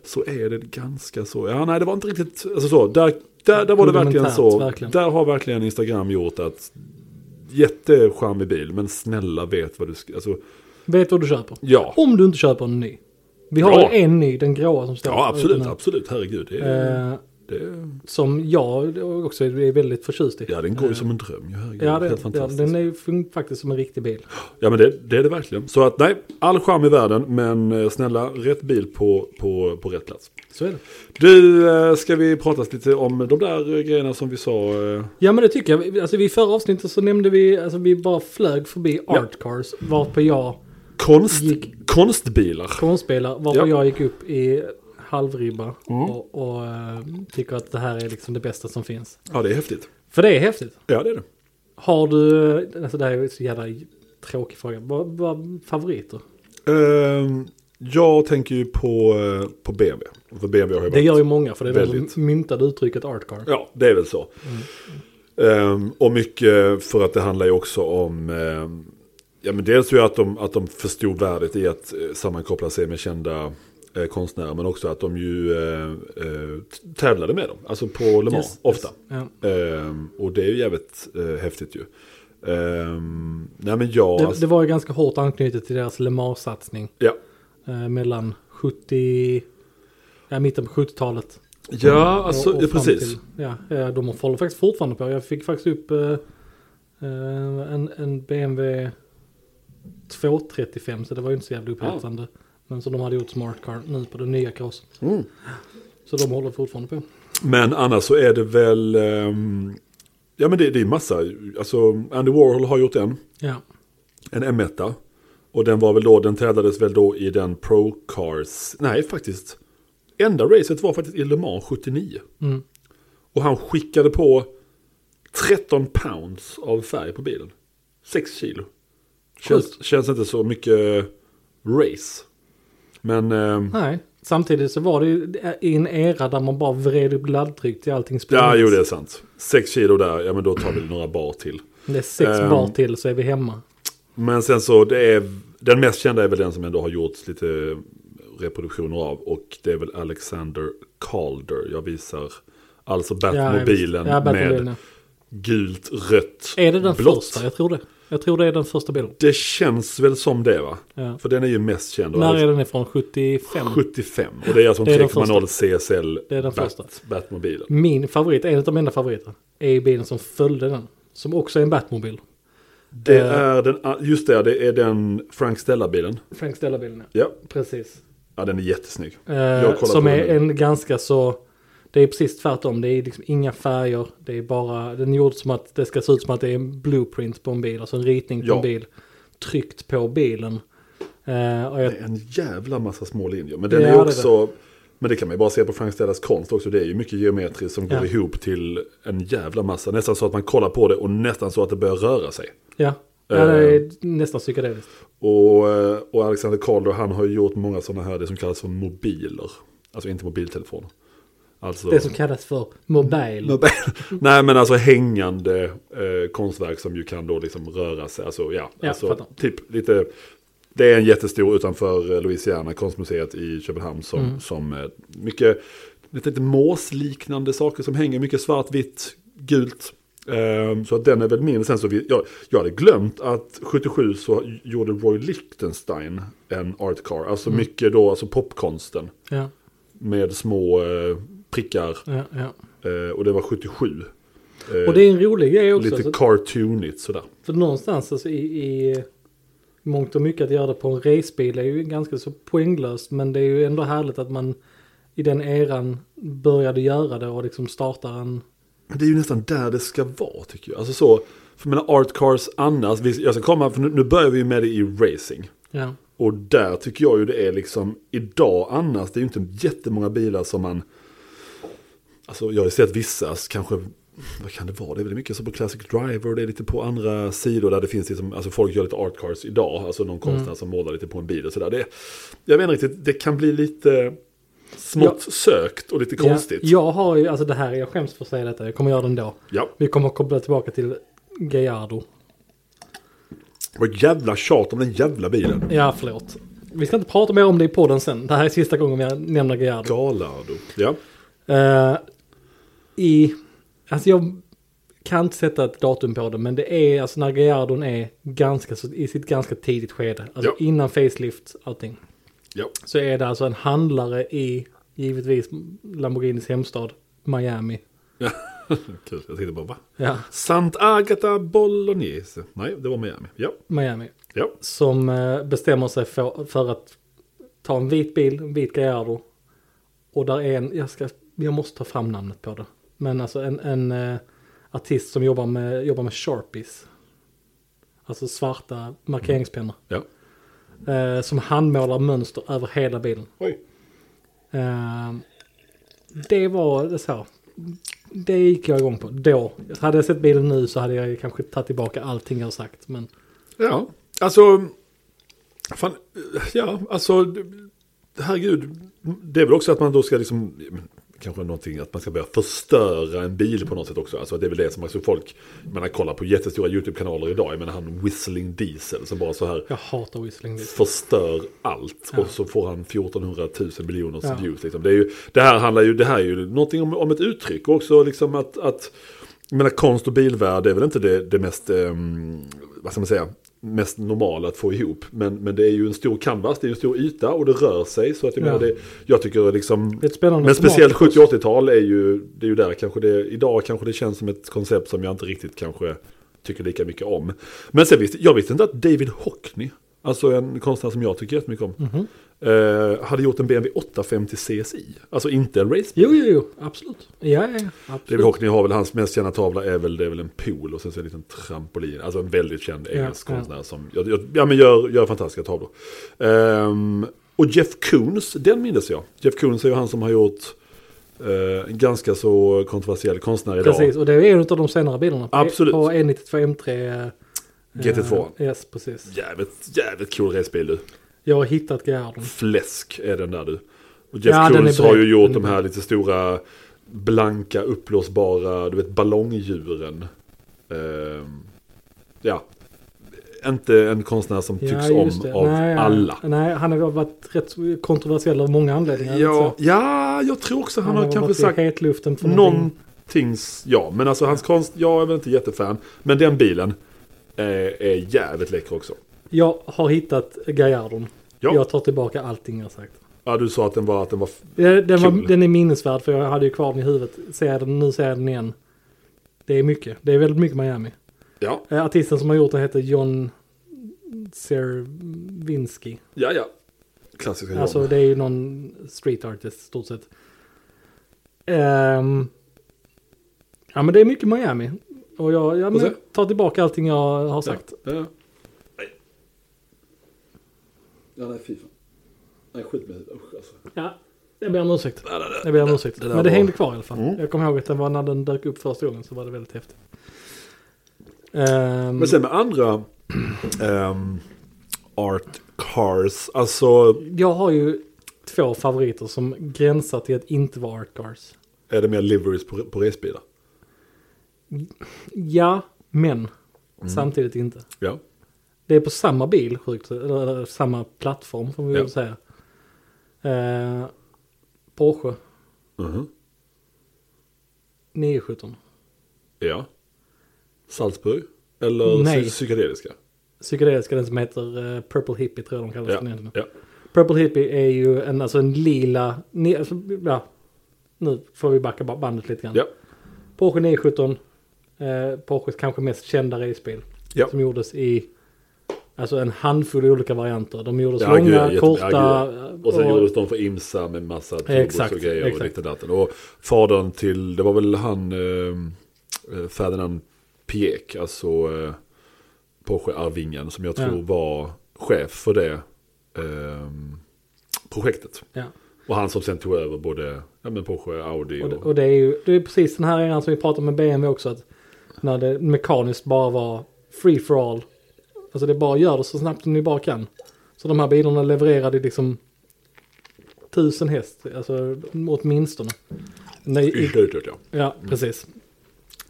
så är det ganska så. Ja, nej, det var inte riktigt, alltså så. Där, där, där var det verkligen så. Rudimentärt, verkligen. Där har verkligen Instagram gjort att jättecharmig bil, men snälla vet vad du ska, alltså Vet vad du köper. ja. Om du inte köper en ny. Vi har Bra. en ny, den gråa som står Ja, absolut, ute nu. absolut, herregud. Det, är- Eh, det, är- som jag också är väldigt förtjust i. ja, den går ju som en dröm, ju, herregud. eh, Ja, det, Helt ja, fantastiskt. den är ju fun- faktiskt som en riktig bil. Ja men det, det är det verkligen. Så att nej, all charm i världen men eh, snälla rätt bil på, på, på rätt plats. Så är det. Du, eh, ska vi prata lite om de där eh, grejerna som vi sa? eh? Ja men det tycker jag. Vi- Alltså, vi förra avsnittet så nämnde vi, alltså vi bara flög förbi Art Cars. Varpå jag, Konst, Gick- Konstbilar. konstspelare, varpå Ja. Mm. jag gick upp i halvribba och, och eh, tycker att det här är liksom det bästa som finns. Ja, det är häftigt. För det är häftigt. Ja, det är det. Har du, alltså det här är ju så jävla tråkig fråga, vad vad favoriter? Ehm, jag tänker ju på, eh, på BMW. För BMW har ju Det varit- gör ju många för det är de Väldigt. som myntade uttrycket Art Car. Ja, det är väl så. Ehm, och mycket för att det handlar ju också om... ehm, ja, men dels ju att de, att de förstod värdet i att eh, sammankoppla sig med kända eh, konstnärer. Men också att de ju eh, eh, t- tävlade med dem. Alltså på Le Mans, Yes, ofta. yes. Ja. Ehm, och det är ju jävligt eh, häftigt ju. Ehm, nej men jag... Det, det var ju ganska hårt anknutet till deras Le Mans-satsning. ja. Eh, mellan 70, ja mitten på 70-talet. ja, alltså Mm. Och- och ja, fram precis. till- ja, eh, de håller faktiskt fortfarande på. Jag fick faktiskt upp eh, eh, en, en BMW 235 så det var ju inte så jävla upphetsande. Men som de hade gjort Smart Car nu på den nya karossen. Mm. Så de håller fortfarande på. Men annars så är det väl... ehm, ja men det, det är massa. Alltså Andy Warhol har gjort en. Ja, En M1. Och den var väl då, den tävlades väl då i den Pro Cars. Nej faktiskt. Enda racet var faktiskt i Le Mans 79. Mm. Och han skickade på 13 pounds av färg på bilen. 6 kilo. Känns, känns inte så mycket race. Men... ehm, nej. Samtidigt så var det ju i en era där man bara vred upp laddtryck till allting ja, sprängs. jo det är sant. 6 kilo där, ja men då tar vi några bar till. Det är sex Ehm. bar till så är vi hemma. Men sen så, det är, den mest kända är väl den som ändå har gjorts lite reproduktioner av. Och det är väl Alexander Calder. Jag visar alltså Batmobilen ja, ja, Batmobilen, med ja. gult, rött, Är det den blått. första? Jag tror det. Jag tror det är den första bilden. Det känns väl som det va? Ja. För den är ju mest känd. När är den ifrån? 75? 75. Och det är alltså en Det är den 3,0 CSL Det är den första. Bat, Batmobilen. Min favorit, en av mina favoriter, är bilen som följde den. Som också är en Batmobil. Det Eh. är den, ah, just det, det är den Frank Stella-bilen. Frank Stella-bilen, ja. Ja. Precis. ja, den är jättesnygg. Eh, kollar som på är den. en ganska så... Det är precis tvärtom. Det är liksom inga färger. Det är bara... Den är gjord som att det ska se ut som att det är en blueprint på en bil. Alltså en ritning på Ja. en bil. Tryckt på bilen. Eh, och jag, Det är en jävla massa små linjer. Men den Ja, det är är också... Men det kan man ju bara se på Frank Stellas konst också. Det är ju mycket geometriskt som Ja. går ihop till en jävla massa. Nästan så att man kollar på det och nästan så att det börjar röra sig. ja. ja, Eh. det är nästan psykedeliskt. Och, eh, och Alexander Calder han har ju gjort många sådana här, det som kallas för mobiler. Alltså inte mobiltelefoner. Alltså, Det som kallas för mobile. Mobil. Nej men alltså hängande eh, konstverk som ju kan då liksom röra sig. Alltså, ja, Ja, alltså, fattar. typ lite, det är en jättestor utanför eh, Louisiana, konstmuseet i Köpenhamn som, Mm. som eh, mycket lite, lite måsliknande saker som hänger, mycket svartvitt, gult. Ehm, så att den är väl min. Sen så vi, jag, jag hade glömt att 77 så gjorde Roy Lichtenstein en art car. Alltså Mm. mycket då, alltså popkonsten. Ja, Med små eh, prickar ja, ja. Eh, och det var 77. Eh, Och det är en rolig grej också. lite så- cartoonigt sådär. För någonstans alltså, i, i mångt och mycket att göra det på en racebil är ju ganska så poänglöst. Men det är ju ändå härligt att man i den eran började göra det och liksom startar en... Men det är ju nästan där det ska vara tycker jag. Alltså så, för mina art cars annars, vi, jag ska komma, för nu, nu börjar vi ju med det i racing. Ja, Och där tycker jag ju det är liksom, idag annars, det är ju inte jättemånga bilar som man, alltså jag har ju sett vissa, alltså, kanske, vad kan det vara, det är väl mycket så på Classic Driver, det är lite på andra sidor där det finns liksom, alltså folk gör lite art cars idag, alltså någon konstnär som målar lite på en bil och sådär. Det, jag menar riktigt, det kan bli lite smått sökt och lite konstigt. Ja, jag har ju, alltså det här, jag skäms för att säga detta, jag kommer göra det ändå. ja. Vi kommer att koppla tillbaka till Gallardo. Vad ett jävla tjat om den jävla bilen. Ja, förlåt. Vi ska inte prata mer om det i podden sen. Det här är sista gången jag nämner Gallardo. Galado. Ja. Eh, I, alltså jag kan inte sätta ett datum på det, men det är alltså när Gallardon är ganska, så- i sitt ganska tidigt skede, alltså Ja. innan facelift allting, ja. så är det alltså en handlare i, givetvis, Lamborghinis hemstad, Miami. Kul, jag tänkte bara va? Ja, Sant Agata Bolognese. Nej, det var Miami. Ja, Miami. ja. Som eh, bestämmer sig för, för att ta en vit bil, en vit Gallardo. Och där är en, jag, ska, jag måste ta fram namnet på det. Men alltså en, en eh, artist som jobbar med, jobbar med sharpies. Alltså svarta markeringspennor. ja. Eh, som handmålar mönster över hela bilen. Oj. Eh, det var så. Det gick jag igång på då. Hade jag sett bilen nu så hade jag kanske tagit tillbaka allting jag har sagt. Men Ja, alltså... Fan, ja, alltså... Herregud. Det är väl också att man då ska liksom... Kanske någonting att man ska börja förstöra en bil på något sätt också. Alltså det är väl det som alltså folk... Jag menar, kolla på jättestora YouTube-kanaler idag. Jag menar han Whistling Diesel som bara så här... jag hatar whistling. Dick. förstör allt och så får han 1400 000 miljoner Ja. views. Liksom. Det, är ju, det här handlar ju, det här är ju någonting om, om ett uttryck och också liksom att, att jag menar, konst och bilvärde är väl inte det, det mest, ehm, vad ska man säga, mest normala att få ihop. Men, men det är ju en stor canvas, det är ju en stor yta och det rör sig. Så att Ja. jag menar, det, jag tycker liksom... Det är ett spännande Men format. speciellt 70 och 80-tal är ju, det är ju där kanske det, idag kanske det känns som ett koncept som jag inte riktigt kanske tycker lika mycket om. Men sen visste, jag visste inte att David Hockney, alltså en konstnär som jag tycker jättemycket om, eh, hade gjort en BMW 850 CSI. Alltså inte en racebil. Jo, jo, jo, absolut. Ja, ja, ja, absolut. David Hockney har väl hans mest kända tavla är väl, det är väl en pool och sen så en liten trampolin. Alltså en väldigt känd engelsk ja. konstnär som jag, jag, ja, men gör, gör fantastiska tavlor. Ehm, och Jeff Koons, den minns jag. Jeff Koons är ju han som har gjort eh, en ganska så kontroversiell konstnär idag. Precis, och det är en av de senare bilarna. På- Absolut. På E92 M3. eh, GT2. eh, yes, precis. Jävligt, jävligt cool racebil du. Jag har hittat Gerhardon. Fläsk är den där du. Och Jeff Ja, den är Koons har ju bred. Mm. gjort Den är de här lite stora blanka upplåsbara, du vet ballongdjuren. Ehm, ja, inte en konstnär som tycks om av alla. Nej, han har varit rätt så kontroversiell av många anledningar. Ja, Så ja, jag tror också han, han har kanske varit i sagt hetluften för någonting. någontings, ja, men alltså hans konst, jag är väl inte jättefan, men den bilen eh, är jävligt läcker också. Jag har hittat Gerhardon. Ja. Jag tar tillbaka allting jag sagt. Ja, du sa att den var, att den var, Ja, Den, Kul. var, den är minnesvärd för jag hade ju kvar den i huvudet. Ser jag den, nu ser jag den igen. Det är mycket. Det är väldigt mycket Miami. ja, Eh, Artisten som har gjort den heter John Servinski. ja, ja. Klassiska John. Alltså det är ju någon street artist stort sett. Ehm, ja men det är mycket Miami. Och jag, jag så? men, tar tillbaka allting jag har sagt. Ja, ja. Nej. Ja, nej, fy fan. Nej, skit med det. Usch, alltså. Ja. Jag ber om ursäkt. Jag ber om ursäkt. det där men det var- Mm. hängde kvar i alla fall. Jag kommer ihåg att den var när den dök upp första gången så var det väldigt häftigt. Ehm, Men sen med andra ehm, art cars, alltså jag har ju två favoriter som gränsar till att inte vara artcars. Är det mer liveries på, på racebilar? Ja, men samtidigt inte. Ja. Det är på samma bil, sjukt, eller, eller samma plattform får vi väl Ja. säga. Eh, Porsche Mhm. 917. Ja. Salzburg? Eller Nej. psy- psykedeliska? Psykedeliska den som heter eh, Purple Hippie tror jag de kallas. Ja. för nu. ja. Purple Hippie är ju en, alltså en lila, ni, alltså, ja, nu får vi backa ba- bandet lite grann. ja. Porsche 917, eh, Porsches kanske mest kända racebil. Ja. Som gjordes i alltså en handfull olika varianter. De gjordes Ja, gud, långa, jätte- korta ja, gud. Och sen och- gjordes de för IMSA med massa turbos Exakt, och grejer exakt. och lite datten. Och fadern till, det var väl han, eh, eh, Ferdinand Pieck, alltså eh, Porsche-arvingen, som jag Ja. tror var chef för det eh, projektet. ja. Och han som sen tog över både ja, men Porsche, Audi Och, och... det- och det är ju det är precis den här eran som vi pratade med BMW också. Att när det mekaniskt bara var free for all. Alltså det bara gör det så snabbt ni bara kan. Så de här bilarna levererade liksom tusen häst, alltså åtminstone. Nej, i- Yrt, yrt, yrt, ja. Ja, precis.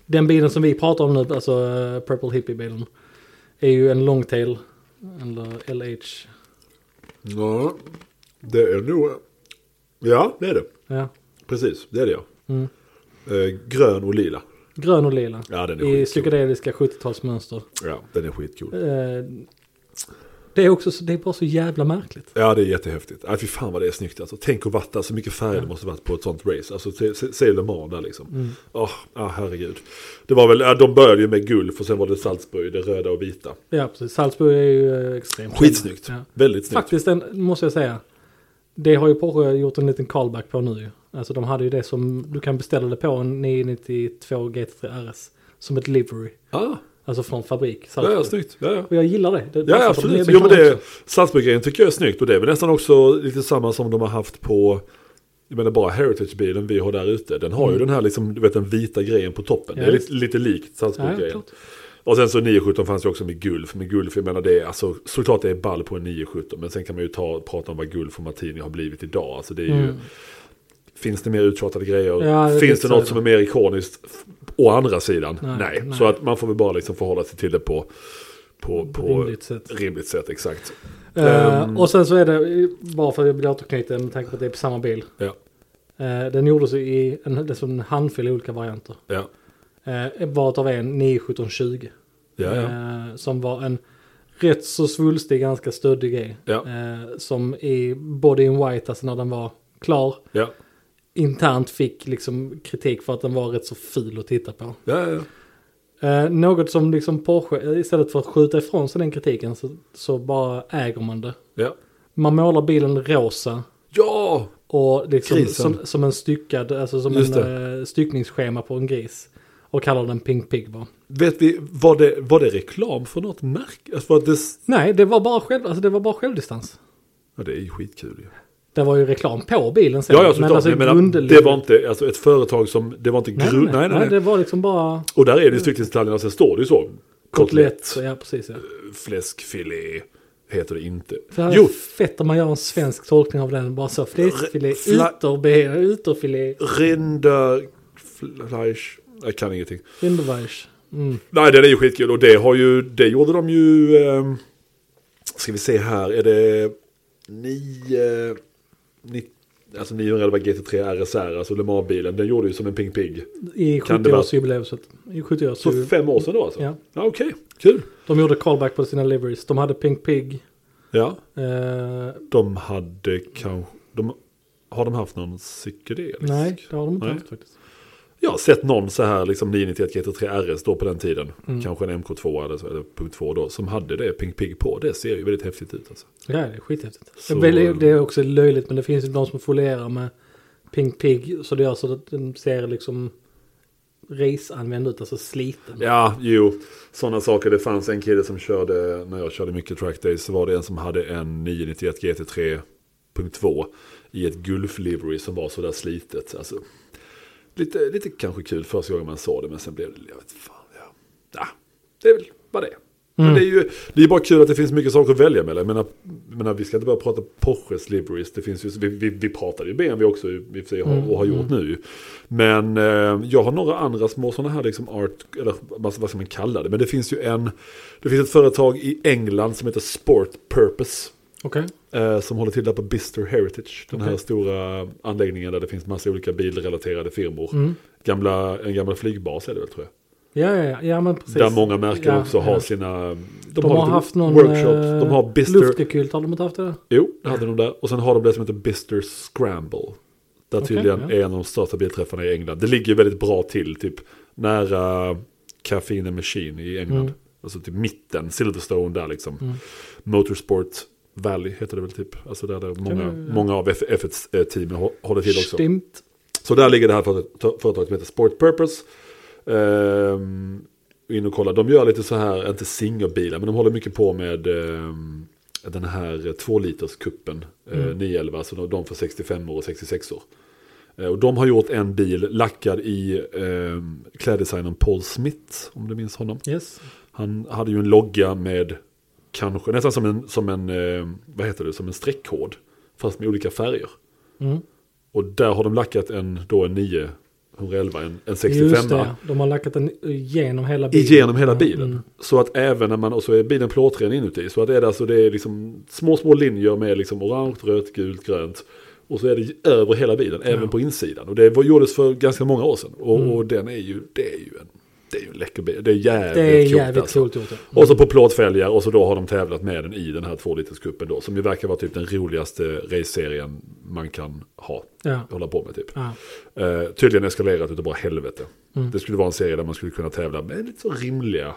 Den bilen som vi pratar om nu, alltså eh, Purple Hippie-bilen, är ju en Longtail, eller LH. ja, det är nog... Ja, det är det. Ja. Precis, det är det ja. Mm. Eh, grön och lila. Grön och lila. Ja, den är I skitcool. psykedeliska 70-talsmönster. Ja, den är skitcool. Eh, Det är också så, det är bara så jävla märkligt. Ja, det är jättehäftigt. Äh, fy fan vad det är snyggt alltså. Tänk att vatta, så mycket färg det måste varit på ett sånt race. Alltså, se- se- se Le Mans där liksom. Mm. Åh, ah, herregud. Det var väl, ja, de började ju med guld, för sen var det Salzburg, det röda och vita. Ja, precis. Salzburg är ju eh, extremt Skitsnyggt. Ja. Väldigt snyggt. Faktiskt, den, måste jag säga. Det har ju Porsche gjort en liten callback på nu. ju. Alltså de hade ju det som, du kan beställa det på en 992 GT3 RS. Som ett livery. Ah, Alltså från fabrik. ja, Salzburg. ja, snyggt. Ja, ja. Och jag gillar det. det Ja, passar ja, på den nya absolut. Jo, men bilen det, också. Salzburg-grejen tycker jag är snyggt. Och det är väl nästan också lite samma som de har haft på, jag menar bara Heritage-bilen vi har där ute. Den har ju den här liksom, du vet den vita grejen på toppen. Mm. Ja, det är visst. lite, lite likt Ja, Salzburg-grejen. klart. Och sen så 917 fanns ju också med Gulf. Men Gulf, jag menar det är alltså, såklart det är ball på en 917. Men sen kan man ju ta, prata om vad Gulf och Martini har blivit idag. Alltså det är ju, Mm. finns det mer uttjatade grejer? Ja, det- finns det det är något så. som är mer ikoniskt? F- Å andra sidan, Nej, nej. nej. Så att man får väl bara liksom förhålla sig till det på, på, På på rimligt sätt. rimligt sätt. Exakt. Eh, Ehm. och sen så är det, bara för att jag vill återknyta med tanke på att det är på samma bil. Ja, Eh, den gjordes ju i en, liksom en handfull olika varianter. ja, Uh, Varav en 91720. ja. ja. Eh, som var en rätt så svulstig, ganska stöddig grej. Ja. Eh, som i Body in White, alltså när den var klar, ja. internt fick liksom kritik för att den var rätt så ful att titta på. Ja, ja. Eh, något som liksom Porsche, istället för att skjuta ifrån sig den kritiken så, så bara äger man det. ja. Man målar bilen rosa ja! och liksom Grisen. som, som en styckad, alltså som Just en eh, styckningsschema på en gris. Och kallar den Pink Pig bara. Vet vi, var det, var det reklam för något märke? Alltså, var det, Nej, det var bara, själv, alltså det var bara självdistans. ja, det är ju skitkul ju. Det var ju reklam på bilen sen. Ja, ja såklart. jag menar, grundlig- det var inte alltså, ett företag som, det var inte nej, grund... alltså, Nej, nej, nej. Det var liksom bara Och där är det i styckningsdetaljerna, sen står det ju så. kotlett. Ja, precis. Ja. fläskfilé heter det inte. Det här är Jo, fett om man gör en svensk tolkning av den. Bara så fläskfilé, Fla- ytterbe- ytterfilé, rinderfleisch. Jag kan ingenting. underweich. Mm. Nej, den är ju skitkul och det har ju, det gjorde de ju, ehm, ska vi se här, är det 9, alltså 911 GT3 RSR, alltså Le Mans-bilen, den gjorde ju som en Ping Pig. I Kan det vara- 70-årsjubileet. I 70 Så fem år sedan då alltså? Ja. ja Okej, kul. De gjorde callback på sina liveries. De hade Pink Pig. Ja, Eh, de hade kanske, de, har de haft någon psykedelisk? nej, det har de inte Nej. haft faktiskt. Jag har sett någon så här, liksom 991 GT3 RS då på den tiden, kanske en MK2 eller, så, eller punkt 2 då, som hade det Ping Pig på. Det ser ju väldigt häftigt ut alltså. Ja, det är skithäftigt. Så- Det är väl- Det är också löjligt, men det finns ju de som folierar med Pink Pig. Så det gör så att den ser liksom race-använd ut, alltså sliten. Ja, jo. Sådana saker. Det fanns en kille som körde, när jag körde mycket trackdays, så var det en som hade en 991 GT3.2 i ett Gulf-livery som var sådär slitet. Alltså, lite, lite kanske kul första gången man såg det, men sen blev det, jag vet fan, ja. ja det är väl vad det är. Mm. Men det är ju det är bara kul att det finns mycket saker att välja mellan. Jag menar, jag menar, vi ska inte bara prata Porsche liveries. Det finns ju, vi, vi, vi pratade ju BMW också i och för sig, Mm. har- och har gjort nu. Men eh, jag har några andra små sådana här liksom art, eller vad ska vad ska man kalla det? Men det finns ju en, det finns ett företag i England som heter Sport Purpose. Okej. Eh, som håller till där på Bister Heritage. Den här Okej. stora anläggningen där det finns massa olika bilrelaterade firmor. Mm. Gamla, en gammal flygbas är det väl tror jag. Ja, ja, ja, ja, men precis. Där många märken Ja, också har ja. sina... De, De har lite haft någon workshops. De har eh, Bister... luftrekylt, har de inte haft det? Mm. där? Jo, det hade de där. Och sen har de det som heter Bister Scramble. Där Okej, tydligen ja. är en av de största bilträffarna i England. Det ligger väldigt bra till, typ nära Cafe in the Machine i England. Mm. Alltså typ mitten, Silverstone där liksom. Mm. Motorsport Valley heter det väl typ. Alltså där, där många, ja. många av F1-teamen håller till också. Stimmt. Så där ligger det här företaget företaget som heter Sport Purpose. Ehm, in och kolla, de gör lite så här, inte singelbilar, men de håller mycket på med ehm, den här 2 liters kuppen eh, 911, så de, de för 65 år och 66 år. Eh, och de har gjort en bil lackad i ehm, kläddesignern Paul Smith, om du minns honom. Yes. Han hade ju en logga med kanske, nästan som en, som en eh, vad heter det, som en streckkod, fast med olika färger. Mm. Och där har de lackat en, då en 911, en, en 65 Just det, de har lackat den igenom hela bilen. igenom hela bilen. Mm. Så att även när man, och så är bilen plåtren inuti, så att det är, det alltså, det är liksom små, små linjer med liksom orange, rött, gult, grönt. Och så är det över hela bilen, även på insidan. Och det var- gjordes för ganska många år sedan. Och, Mm. och den är ju, det är ju en, det är ju en läcker bil. Det är jävligt, Det är coolt, jävligt alltså. coolt Mm. gjort. ja. Och så på plåtfälgar och så då har de tävlat med den i den här tvåliterskuppen då. Som ju verkar vara typ den roligaste raceserien man kan ha, Ja. hålla på med typ. Ja. Eh, tydligen eskalerat utav bara helvete. Det skulle vara en serie där man skulle kunna tävla med lite så rimliga.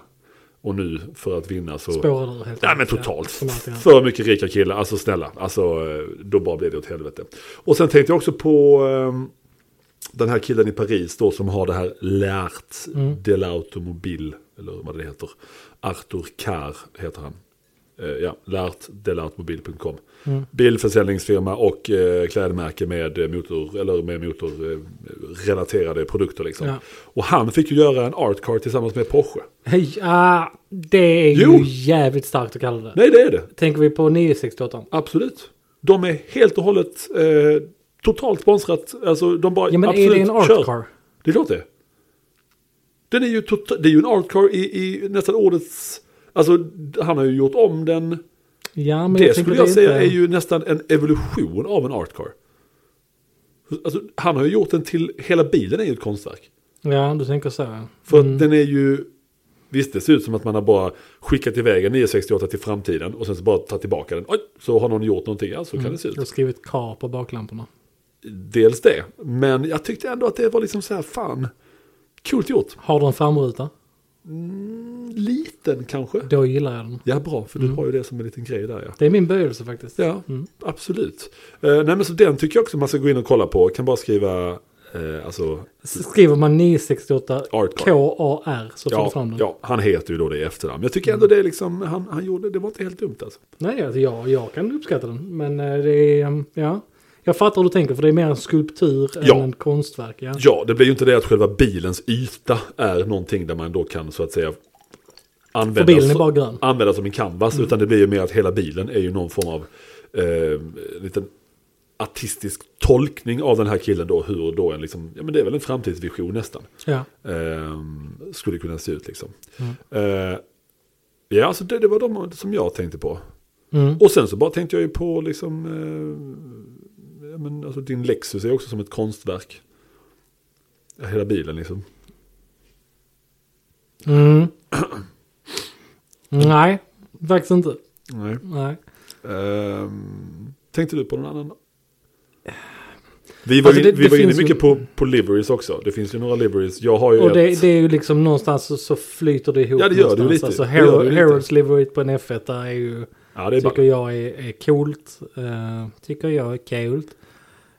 Och nu för att vinna så... Spårade ur helt Nej men enkelt, ja. totalt. Som alltid, ja. För mycket rika killar. Alltså snälla. Alltså eh, då bara blev det åt helvete. Och sen tänkte jag också på ehm, den här killen i Paris då som har det här L'Art Mm. de l'Automobile. Eller vad det heter. Arthur Carr heter han. Eh, ja, lartdelartmobil.com. Mm. Bilförsäljningsfirma och eh, klädmärke med eh, motor, eller med motorrelaterade produkter liksom. Ja. Och han fick ju göra en artcar tillsammans med Porsche. Hej, ah, det är Jo. ju jävligt starkt att kalla det. Nej, det är det. Tänker vi på 968? Absolut. De är helt och hållet eh, totalt sponsrat. Alltså de bara Ja men absolut är det en kör. artcar? Det är klart det. Den är ju tota- det är ju en artcar i, i nästan årets... Alltså han har ju gjort om den. Ja men det jag tänker skulle det jag säga inte... är ju nästan en evolution av en artcar. Alltså, han har ju gjort den till, hela bilen är ju ett konstverk. Ja du tänker så. ja. För att den är ju, visst det ser ut som att man har bara skickat iväg en 968 till framtiden och sen så bara tagit tillbaka den. Oj, så har någon gjort någonting, ja så kan det se ut. Du har skrivit kar på baklamporna. Dels det, men jag tyckte ändå att det var liksom så här, fan, coolt gjort. Har du en framruta? Liten kanske. Då gillar jag den. Ja, bra, för du har ju det som en liten grej där ja. Det är min böjelse faktiskt. Ja, absolut. Eh, nej men så den tycker jag också man ska gå in och kolla på. Kan bara skriva, eh, alltså, S- Skriver man 968 Artcar. K-A-R så får du ja, fram den. ja, han heter ju då det i efternamn. Jag tycker ändå det är liksom, han, han gjorde, det var inte helt dumt alltså. Nej alltså jag, jag kan uppskatta den. Men eh, det är, eh, ja. Jag fattar hur du tänker för det är mer en skulptur Ja. än ett konstverk. Ja. Ja, det blir ju inte det att själva bilens yta är någonting där man då kan så att säga För använda, bilen är bara grön. använda som en canvas. Utan det blir ju mer att hela bilen är ju någon form av eh, liten artistisk tolkning av den här killen då. Hur då en liksom, ja men det är väl en framtidsvision nästan. Ja. Eh, skulle kunna se ut liksom. Eh, ja, alltså det, det var de som jag tänkte på. Mm. Och sen så bara tänkte jag ju på liksom, eh, ja, men alltså din Lexus är också som ett konstverk. Ja, Hela bilen liksom. Mm. Nej, faktiskt inte. Nej. Nej. tänkte du på någon annan? Vi var, Alltså, ju- det- vi det var inne finns ju- mycket på, på liveries också. Det finns ju några liveries. Jag har ju Och det, ett, det är ju liksom någonstans så, så flyter det ihop. Ja, det gör det ju någonstans. lite. Alltså Det gör det ju Hero, lite. Heralds Liveryt på en F1 där är ju, ja, det är tycker bara, jag är, är coolt. Eh, tycker jag är coolt.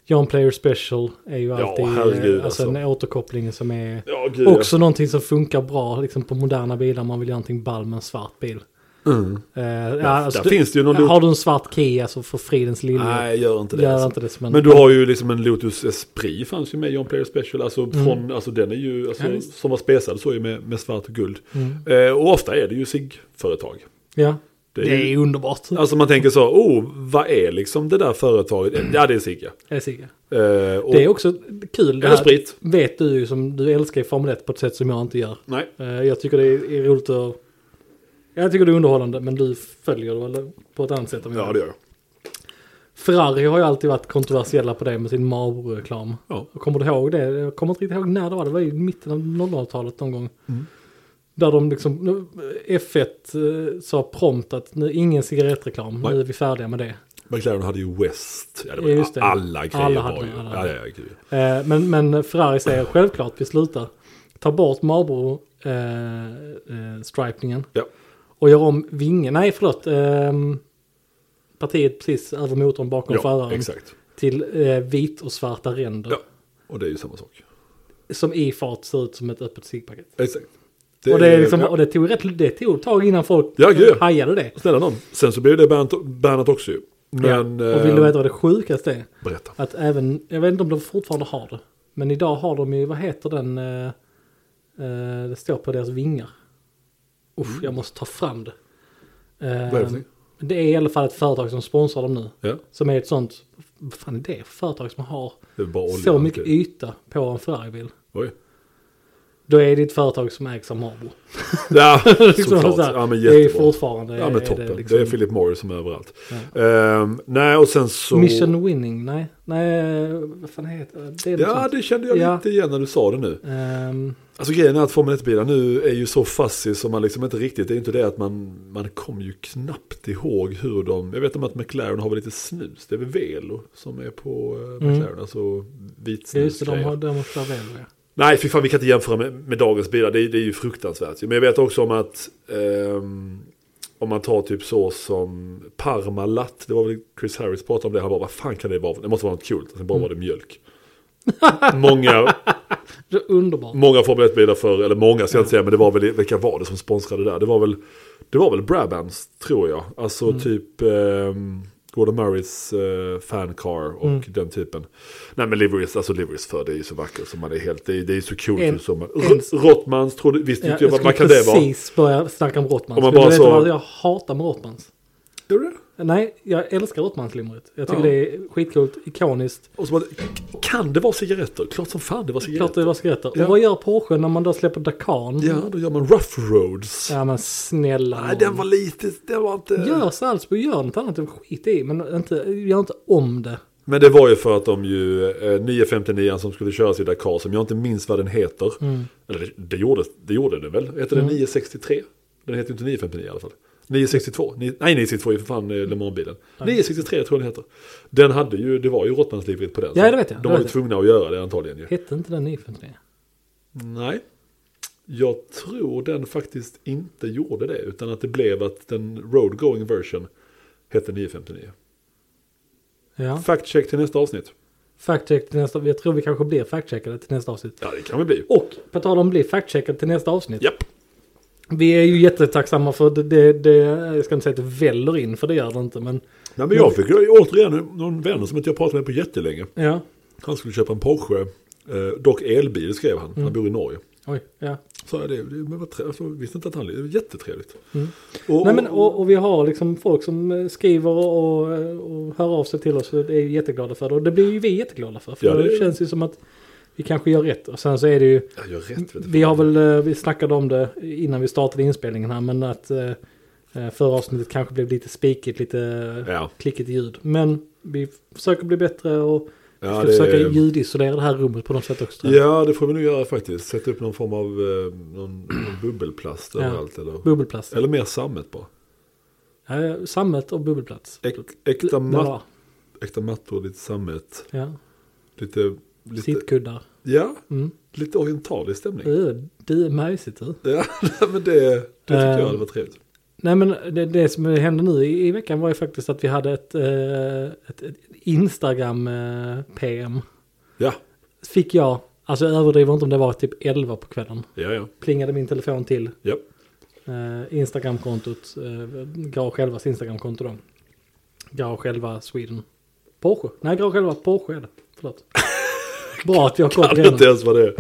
John Player Special är ju alltid eh, herregud, alltså, en alltså. återkoppling som är ja, gud, också någonting som funkar bra liksom på moderna bilar. Man vill göra någonting ball med en svart bil. Eh, Ja, ja, alltså, där du, finns det ju någon har du en svart Kia så för fridens lilja. Nej, gör inte det. Gör alltså. inte det som en- Men du har ju liksom en Lotus Esprit fanns ju med i John Player Special. Alltså, från, alltså den är ju, alltså, Mm. Ja, visst. Mm. som var spesad så är ju med, med svart och guld. Eh, och ofta är det ju SIG-företag. Ja. Det Det är är, ju- underbart. Alltså man tänker så, oh, vad är liksom det där företaget? Ja, det är SIG ja. Jag är säker. Eh, och, Det är också kul. Det Eller här sprit. vet du ju som du älskar i Formel 1 på ett sätt som jag inte gör. Nej, Eh, Jag tycker det är är roligt att... Jag tycker det är underhållande men du följer det väl på ett annat sätt om jag ja det gör jag. Ferrari har ju alltid varit kontroversiella på det med sin Marlboro-reklam. Ja. Kommer du ihåg det? Jag kommer inte riktigt ihåg när det var. Det var i mitten av 00-talet någon gång. Mm. Där de liksom, F1 eh, sa prompt att nu ingen cigarettreklam, Nej. nu är vi färdiga med det. McLaren hade ju West. Ja, det var, Ja, just det. Alla grejer Alla var hade ju. det, alla ja, hade ja, ja, gud. Eh, Men, men Ferrari säger självklart, vi slutar. Ta bort Marlboro-stripningen ja. och gör om vingen, nej förlåt, ehm, partiet precis över motorn bakom ja föraren exakt. till eh, vit och svarta ränder. Ja. Och det är ju samma sak. som i fart ser ut som ett öppet ciggpaket. Exakt. Och, det är liksom, ja. och det tog rätt det tog ett tag innan folk eh, Ja, gud, ja. hajade det. Snälla någon. Sen så blev det bannat- bannat också ju. Men... ja. Och vill du eh, veta vad det sjukaste är? Berätta. Att även, jag vet inte om de fortfarande har det. Men idag har de ju, vad heter den, eh, eh, det står på deras vingar. Usch, jag måste ta fram det. Eh, Mm. Vad är det för något? det är i alla fall ett företag som sponsrar dem nu. Ja. Som är ett sånt, vad fan är det för företag som har Det är bara olja. typ. så mycket Okej. yta på en Ferraribil? Oj. Då är det ett företag som ägs av Marlboro. Ja, Liksom såklart. så här, Ja, men det är jättebra. fortfarande Ja, men är toppen. Det, liksom- är Philip Morris som är överallt. Ehm, nej, och sen så... Mission winning, nej. Nej, vad fan heter det? Det är något Ja, sånt. det kände jag Ja. lite igen när du sa det nu. Ehm, Alltså grejen är att Formel 1-bilar nu är ju så fuzzy som man liksom inte riktigt, det är inte det att man, man kommer ju knappt ihåg hur de, jag vet om att McLaren har väl lite snus, det är väl Velo som är på eh, McLaren, alltså vit ja, snus Mm. just det, de har de har väl Nej, fy fan, vi kan inte jämföra med, med dagens bilar. Det, är- det är ju fruktansvärt. Men jag vet också om att ehm, om man tar typ så som Parmalat, det var väl Chris Harris pratade om det, han bara vad fan kan det vara? Det måste vara något kul, sen Mm. bara var det mjölk. många, det. är Underbart. många Formel 1-bilar för, eller många ska jag inte säga, men det var väl, vilka var det som sponsrade det där? Det var väl, det var väl Brabants, tror jag. Alltså Mm. typ ehm, Gordon Murrays eh, fancar och Mm. den typen. Nej men liveries, alltså liveries för det är ju så vackert som man är helt, det är, det är så coolt En- en, som man, en- Ro- Rottmans trodde, visste Ja, inte jag jag vad man skulle kan det vara? precis börja snacka om Rottmans. Om man Vill bara du så- veta vad jag hatar med Rottmans? Gjorde det? Nej, jag älskar Rottmanslimret. Jag tycker Ja. det är skitcoolt, ikoniskt. Och så bara, kan det vara cigaretter? Klart som fan det var Klart cigaretter. det var skrätter. Ja. Och vad gör Porsche när man då släpper Dakarn? Ja, då gör man Rough Roads. Ja men snälla Nej, nån. den var lite, den var inte... Gör Salzburg, gör något annat, skit i. Men inte, gör inte om det. Men det var ju för att de ju, eh, 959 som skulle köras i Dakar, som jag inte minns vad den heter. Mm. Eller det, det, gjorde, det gjorde den väl? Hette den 963? Den heter ju inte 959 i alla fall. 962, ni, nej 962 är ju för fan eh, Le Mans-bilen. 963 tror jag den heter. Den hade ju, det var ju Rottmanslivrigt på den. Ja, så det vet jag, De det var ju vet jag. tvungna att göra det antagligen ju. Hette inte den 953? Nej. Jag tror den faktiskt inte gjorde det, utan att det blev att den road going version hette 959. Ja. Fact check till nästa avsnitt. Fact-check till nästa, jag tror vi kanske blir fact-checkade till nästa avsnitt. Ja, det kan vi bli. Och på tal om att bli fact-checkade till nästa avsnitt. Japp. Vi är ju jättetacksamma för det, det, det, jag ska inte säga att det väller in för det gör det inte men. Nej, men jag fick ju återigen någon vän som inte jag pratat med på jättelänge. Ja. Han skulle köpa en Porsche, eh, dock elbil skrev han. Mm. Han bor i Norge. Oj, ja. Så jag det, det men vad tre- alltså, jag visste inte att han det är jättetrevligt. Och, Mm. Nej men och, och vi har liksom folk som eh, skriver och, eh, och hör av sig till oss och det är vi jätteglada för det. Och det blir ju vi jätteglada för. För Ja, det det, är- känns ju som att vi kanske gör rätt. Och sen så är det ju, jag gör rätt. Vet du. vi har väl, eh, vi snackade om det innan vi startade inspelningen här men att eh, eh, förra avsnittet kanske blev lite spikigt, lite Ja. klickigt ljud. Men vi försöker bli bättre och vi Ja, ska det- försöka ljudisolera det här rummet på något sätt också. tror jag. ja, det får vi nog göra faktiskt. Sätta upp någon form av eh, någon, någon bubbelplast Ja. överallt. Eller, Bubbelplast. eller mer sammet bara. Ja, Eh, sammet och bubbelplats. Äk, äkta, Det var- matt, äkta mattor, lite sammet. Ja. Lite, lite, Sittkuddar. ja, Mm. lite orientalisk stämning. Ö, Det är mysigt. du. Ja, men det, det tyckte jag Ehm. hade varit trevligt. Nej men det, det som hände nu i, i veckan var ju faktiskt att vi hade ett, eh, ett, ett Instagram-PM. Ja, Fick jag, alltså jag överdriver inte om det var typ 11 på kvällen. ja, ja. Plingade min telefon till. ja. Eh, Eh, Instagramkontot, eh, Garage Självas Instagramkonto då. Garage Själva Sweden. Porsche? Nej, Garage Själva Porsche är det. Förlåt. Bra att jag Jag kom vet inte ens vad det är.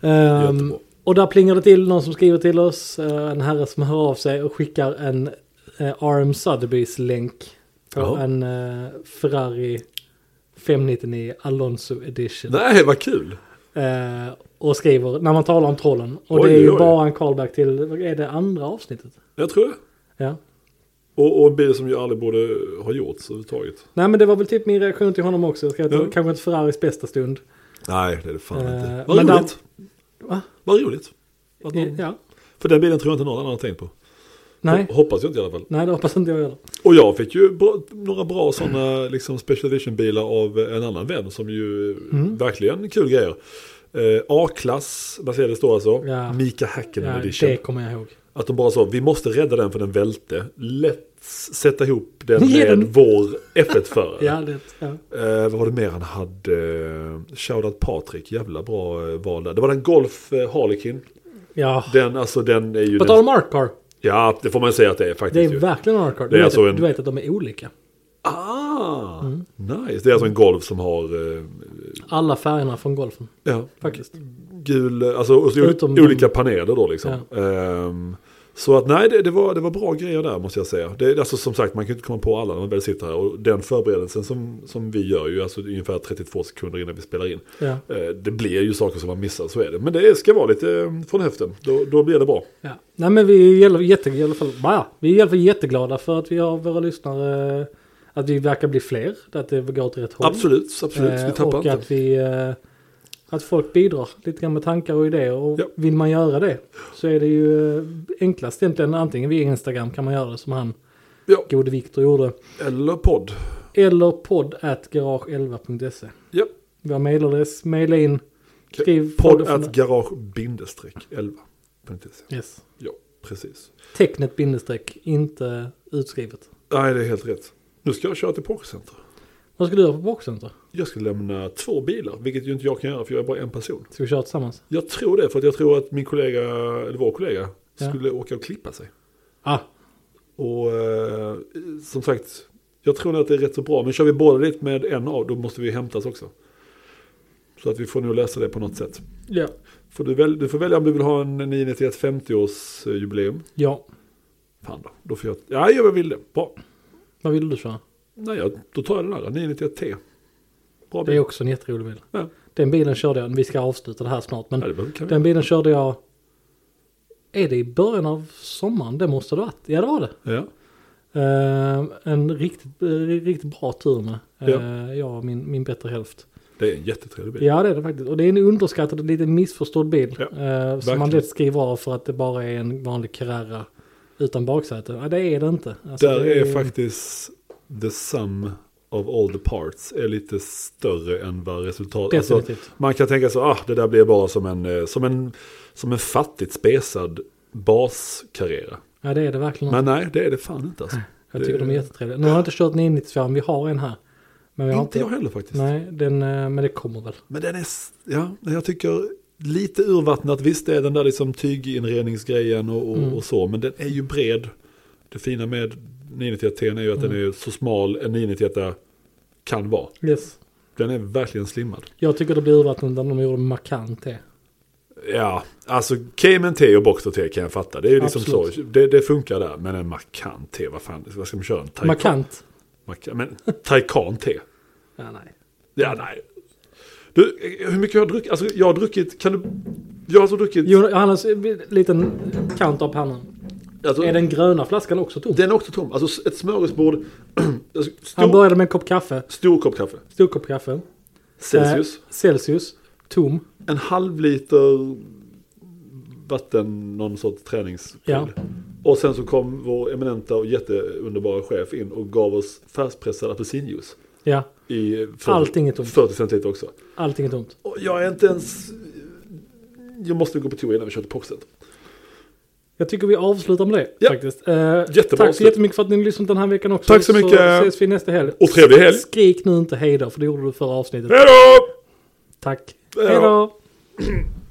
Ehm, Jättebra. och där plingar det till någon som skriver till oss. eh, en herre som hör av sig och skickar en eh, RM Sotheby's länk. På Jaha. en eh, Ferrari 599 Alonso Edition. Nej, vad kul. Eh, och skriver när man talar om trollen. Och Oj, det är ju oj. bara en callback till, vad är det andra avsnittet? Jag tror det. Ja. Och, och en bil som ju aldrig borde ha gjorts överhuvudtaget. Nej men det var väl typ min reaktion till honom också. Jag skrev att det var Ja. kanske inte Ferraris bästa stund. Nej, det är det fan Eh, inte. Vad men där- roligt. Va? Vad roligt. Att någon, Ja. För den bilen tror jag inte någon annan har tänkt på. Nej. Ho- Hoppas jag inte i alla fall. Nej det hoppas inte jag heller. Och jag fick ju bra, några bra sådana liksom special edition bilar av en annan vän som ju Mm. verkligen kul grejer. Eh, A-klass, Mercedes då alltså. Ja. Mika Häkkinen Ja, edition. det kommer jag ihåg. Att de bara sa, vi måste rädda den för den välte. Let's sätta ihop den Ge med den- vår F1-förare. Ja, det, ja. Eh, vad var det mer han hade? Eh, Shoutout Patrik, jävla bra eh, val där. Det var den Golf eh, Harlequin. ja. Den, alltså den är ju... På Den, tal om Art Car. ja, det får man säga att det är Det faktiskt är ju. verkligen en hardcore. Det Du, är vet alltså att- en- du vet att de är olika. Ah, Mm. nice. Det är alltså en Golf som har... Eh, Alla färgerna från golfen. ja, Faktiskt. gul, eh, alltså och så Förutom de- olika paneler då liksom. Ehm, så att nej, det, det, var, det var bra grejer där måste jag säga. Det, är- alltså som sagt, man kan ju inte komma på alla när man väl sitter här. Och den förberedelsen som, som vi gör ju, alltså ungefär 32 sekunder innan vi spelar in. Ja. Eh, Det blir ju saker som man missar, så är det. Men det ska vara lite eh, från höften, då, då blir det bra. ja. Nej men vi är, jätte, i alla fall, bah, vi är i alla fall jätteglada för att vi har våra lyssnare. eh, Att vi verkar bli fler. Att det går åt rätt håll. Absolut, absolut. Eh, Vi tappar och inte. att vi... eh, Att folk bidrar lite grann med tankar och idéer. Och Ja. vill man göra det så är det ju eh, enklast egentligen. Antingen via Instagram kan man göra det som han, Ja, gode Viktor, gjorde. eller podd. Eller podd at garage11.se. Ja. Vår mailadress, maila in. Skriv Podd frågor från- at garage-11. Yes. E. Ja, precis. Tecknet bindestreck, inte utskrivet. Nej, det är helt rätt. Nu ska jag köra till Pokercenter. Vad ska du göra på Boxcenter? Jag ska lämna två bilar, vilket ju inte jag kan göra för jag är bara en person. Ska vi köra tillsammans? Jag tror det, för att jag tror att min kollega, eller vår kollega, Ja. skulle åka och klippa sig. Ah, Och eh, som sagt, jag tror nog att det är rätt så bra. Men kör vi båda dit med en av, då måste vi hämtas också. Så att vi får nog lösa det på något sätt. ja. Får du, väl, du får välja om du vill ha en 991 50-årsjubileum. Ja, Fan då, då får jag... Ja, jag vill det. Bra. vad vill du köra? Nej, jag, då tar jag den andra, 991T. Bra Det är bil. också en jätterolig bil. Ja. Den bilen körde jag, vi ska avsluta det här snart, men Ja, det kan vi. den bilen körde jag... Är det i början av sommaren? Det måste det ha varit. Ja, det var det. Ja. Eh, en riktigt, eh, riktigt bra tur med. Eh, Ja. Jag och min, min bättre hälft. Det är en jättetrevlig bil. Ja, det är det faktiskt. Och det är en underskattad och lite missförstådd bil. Ja, eh, som man verkligen. lätt skriver av för att det bara är en vanlig Carrera utan baksäte. Ja, det är det inte. Alltså, Där det är faktiskt the sum of all the parts är lite större än vad resultatet... Definitivt. man kan tänka så, ah, det där blir bara som en, eh, som en, som en fattigt spesad baskarriera. Ja, det är det verkligen. Men nej, det är det fan inte alltså. jag tycker det- de är jättetrevliga. Nu har jag inte kört 992, vi har en här. Men vi har Inte jag heller faktiskt. Nej, den, eh, men det kommer väl. Men den är, s- ja, jag tycker lite urvattnat. Visst det är den där liksom tyginredningsgrejen och, och, och så, men den är ju bred. Det fina med 991 är ju att den är så smal en 991 kan vara. Yes. Den är verkligen slimmad. Jag tycker det blir urvattnat när de gjorde markant det. Ja, alltså Cayman T och Boxer T kan jag fatta. Det är ju liksom Absolut. så. Det, det funkar där. Men en Macan T, vad fan, vad ska man köra? En Taycan? Markant? Macan- men Taycan T. Ja, nej. Ja, nej. Du, hur mycket har jag druckit? Alltså jag har druckit, kan du... Jag har alltså druckit... Jo, Johannes, en liten kant av pannan. alltså, Är den gröna flaskan också tom? Den är också tom. Alltså ett smörgåsbord. Alltså, Han stor, började med en kopp kaffe, stor kopp kaffe. stor kopp kaffe. Celsius. Eh, Celsius, tom. En halv liter vatten, någon sorts träningspryl. Ja. Och sen så kom vår eminenta och jätteunderbara chef in och gav oss färskpressad apelsinjuice. Ja, I 40, Allting är tomt. 40 centiliter också. allting är tomt. Och jag är inte ens... Jag måste gå på toa innan vi kör till Poxet. Jag tycker vi avslutar med det Ja. faktiskt. Eh, Jättebra tack så avslut. jättemycket för att ni har lyssnat den här veckan också. Tack så mycket. Så ses vi nästa helg. Och trevlig helg! Skrik nu inte hej då, för det gjorde du förra avsnittet. Hej då! Tack. Hej då. Hej då!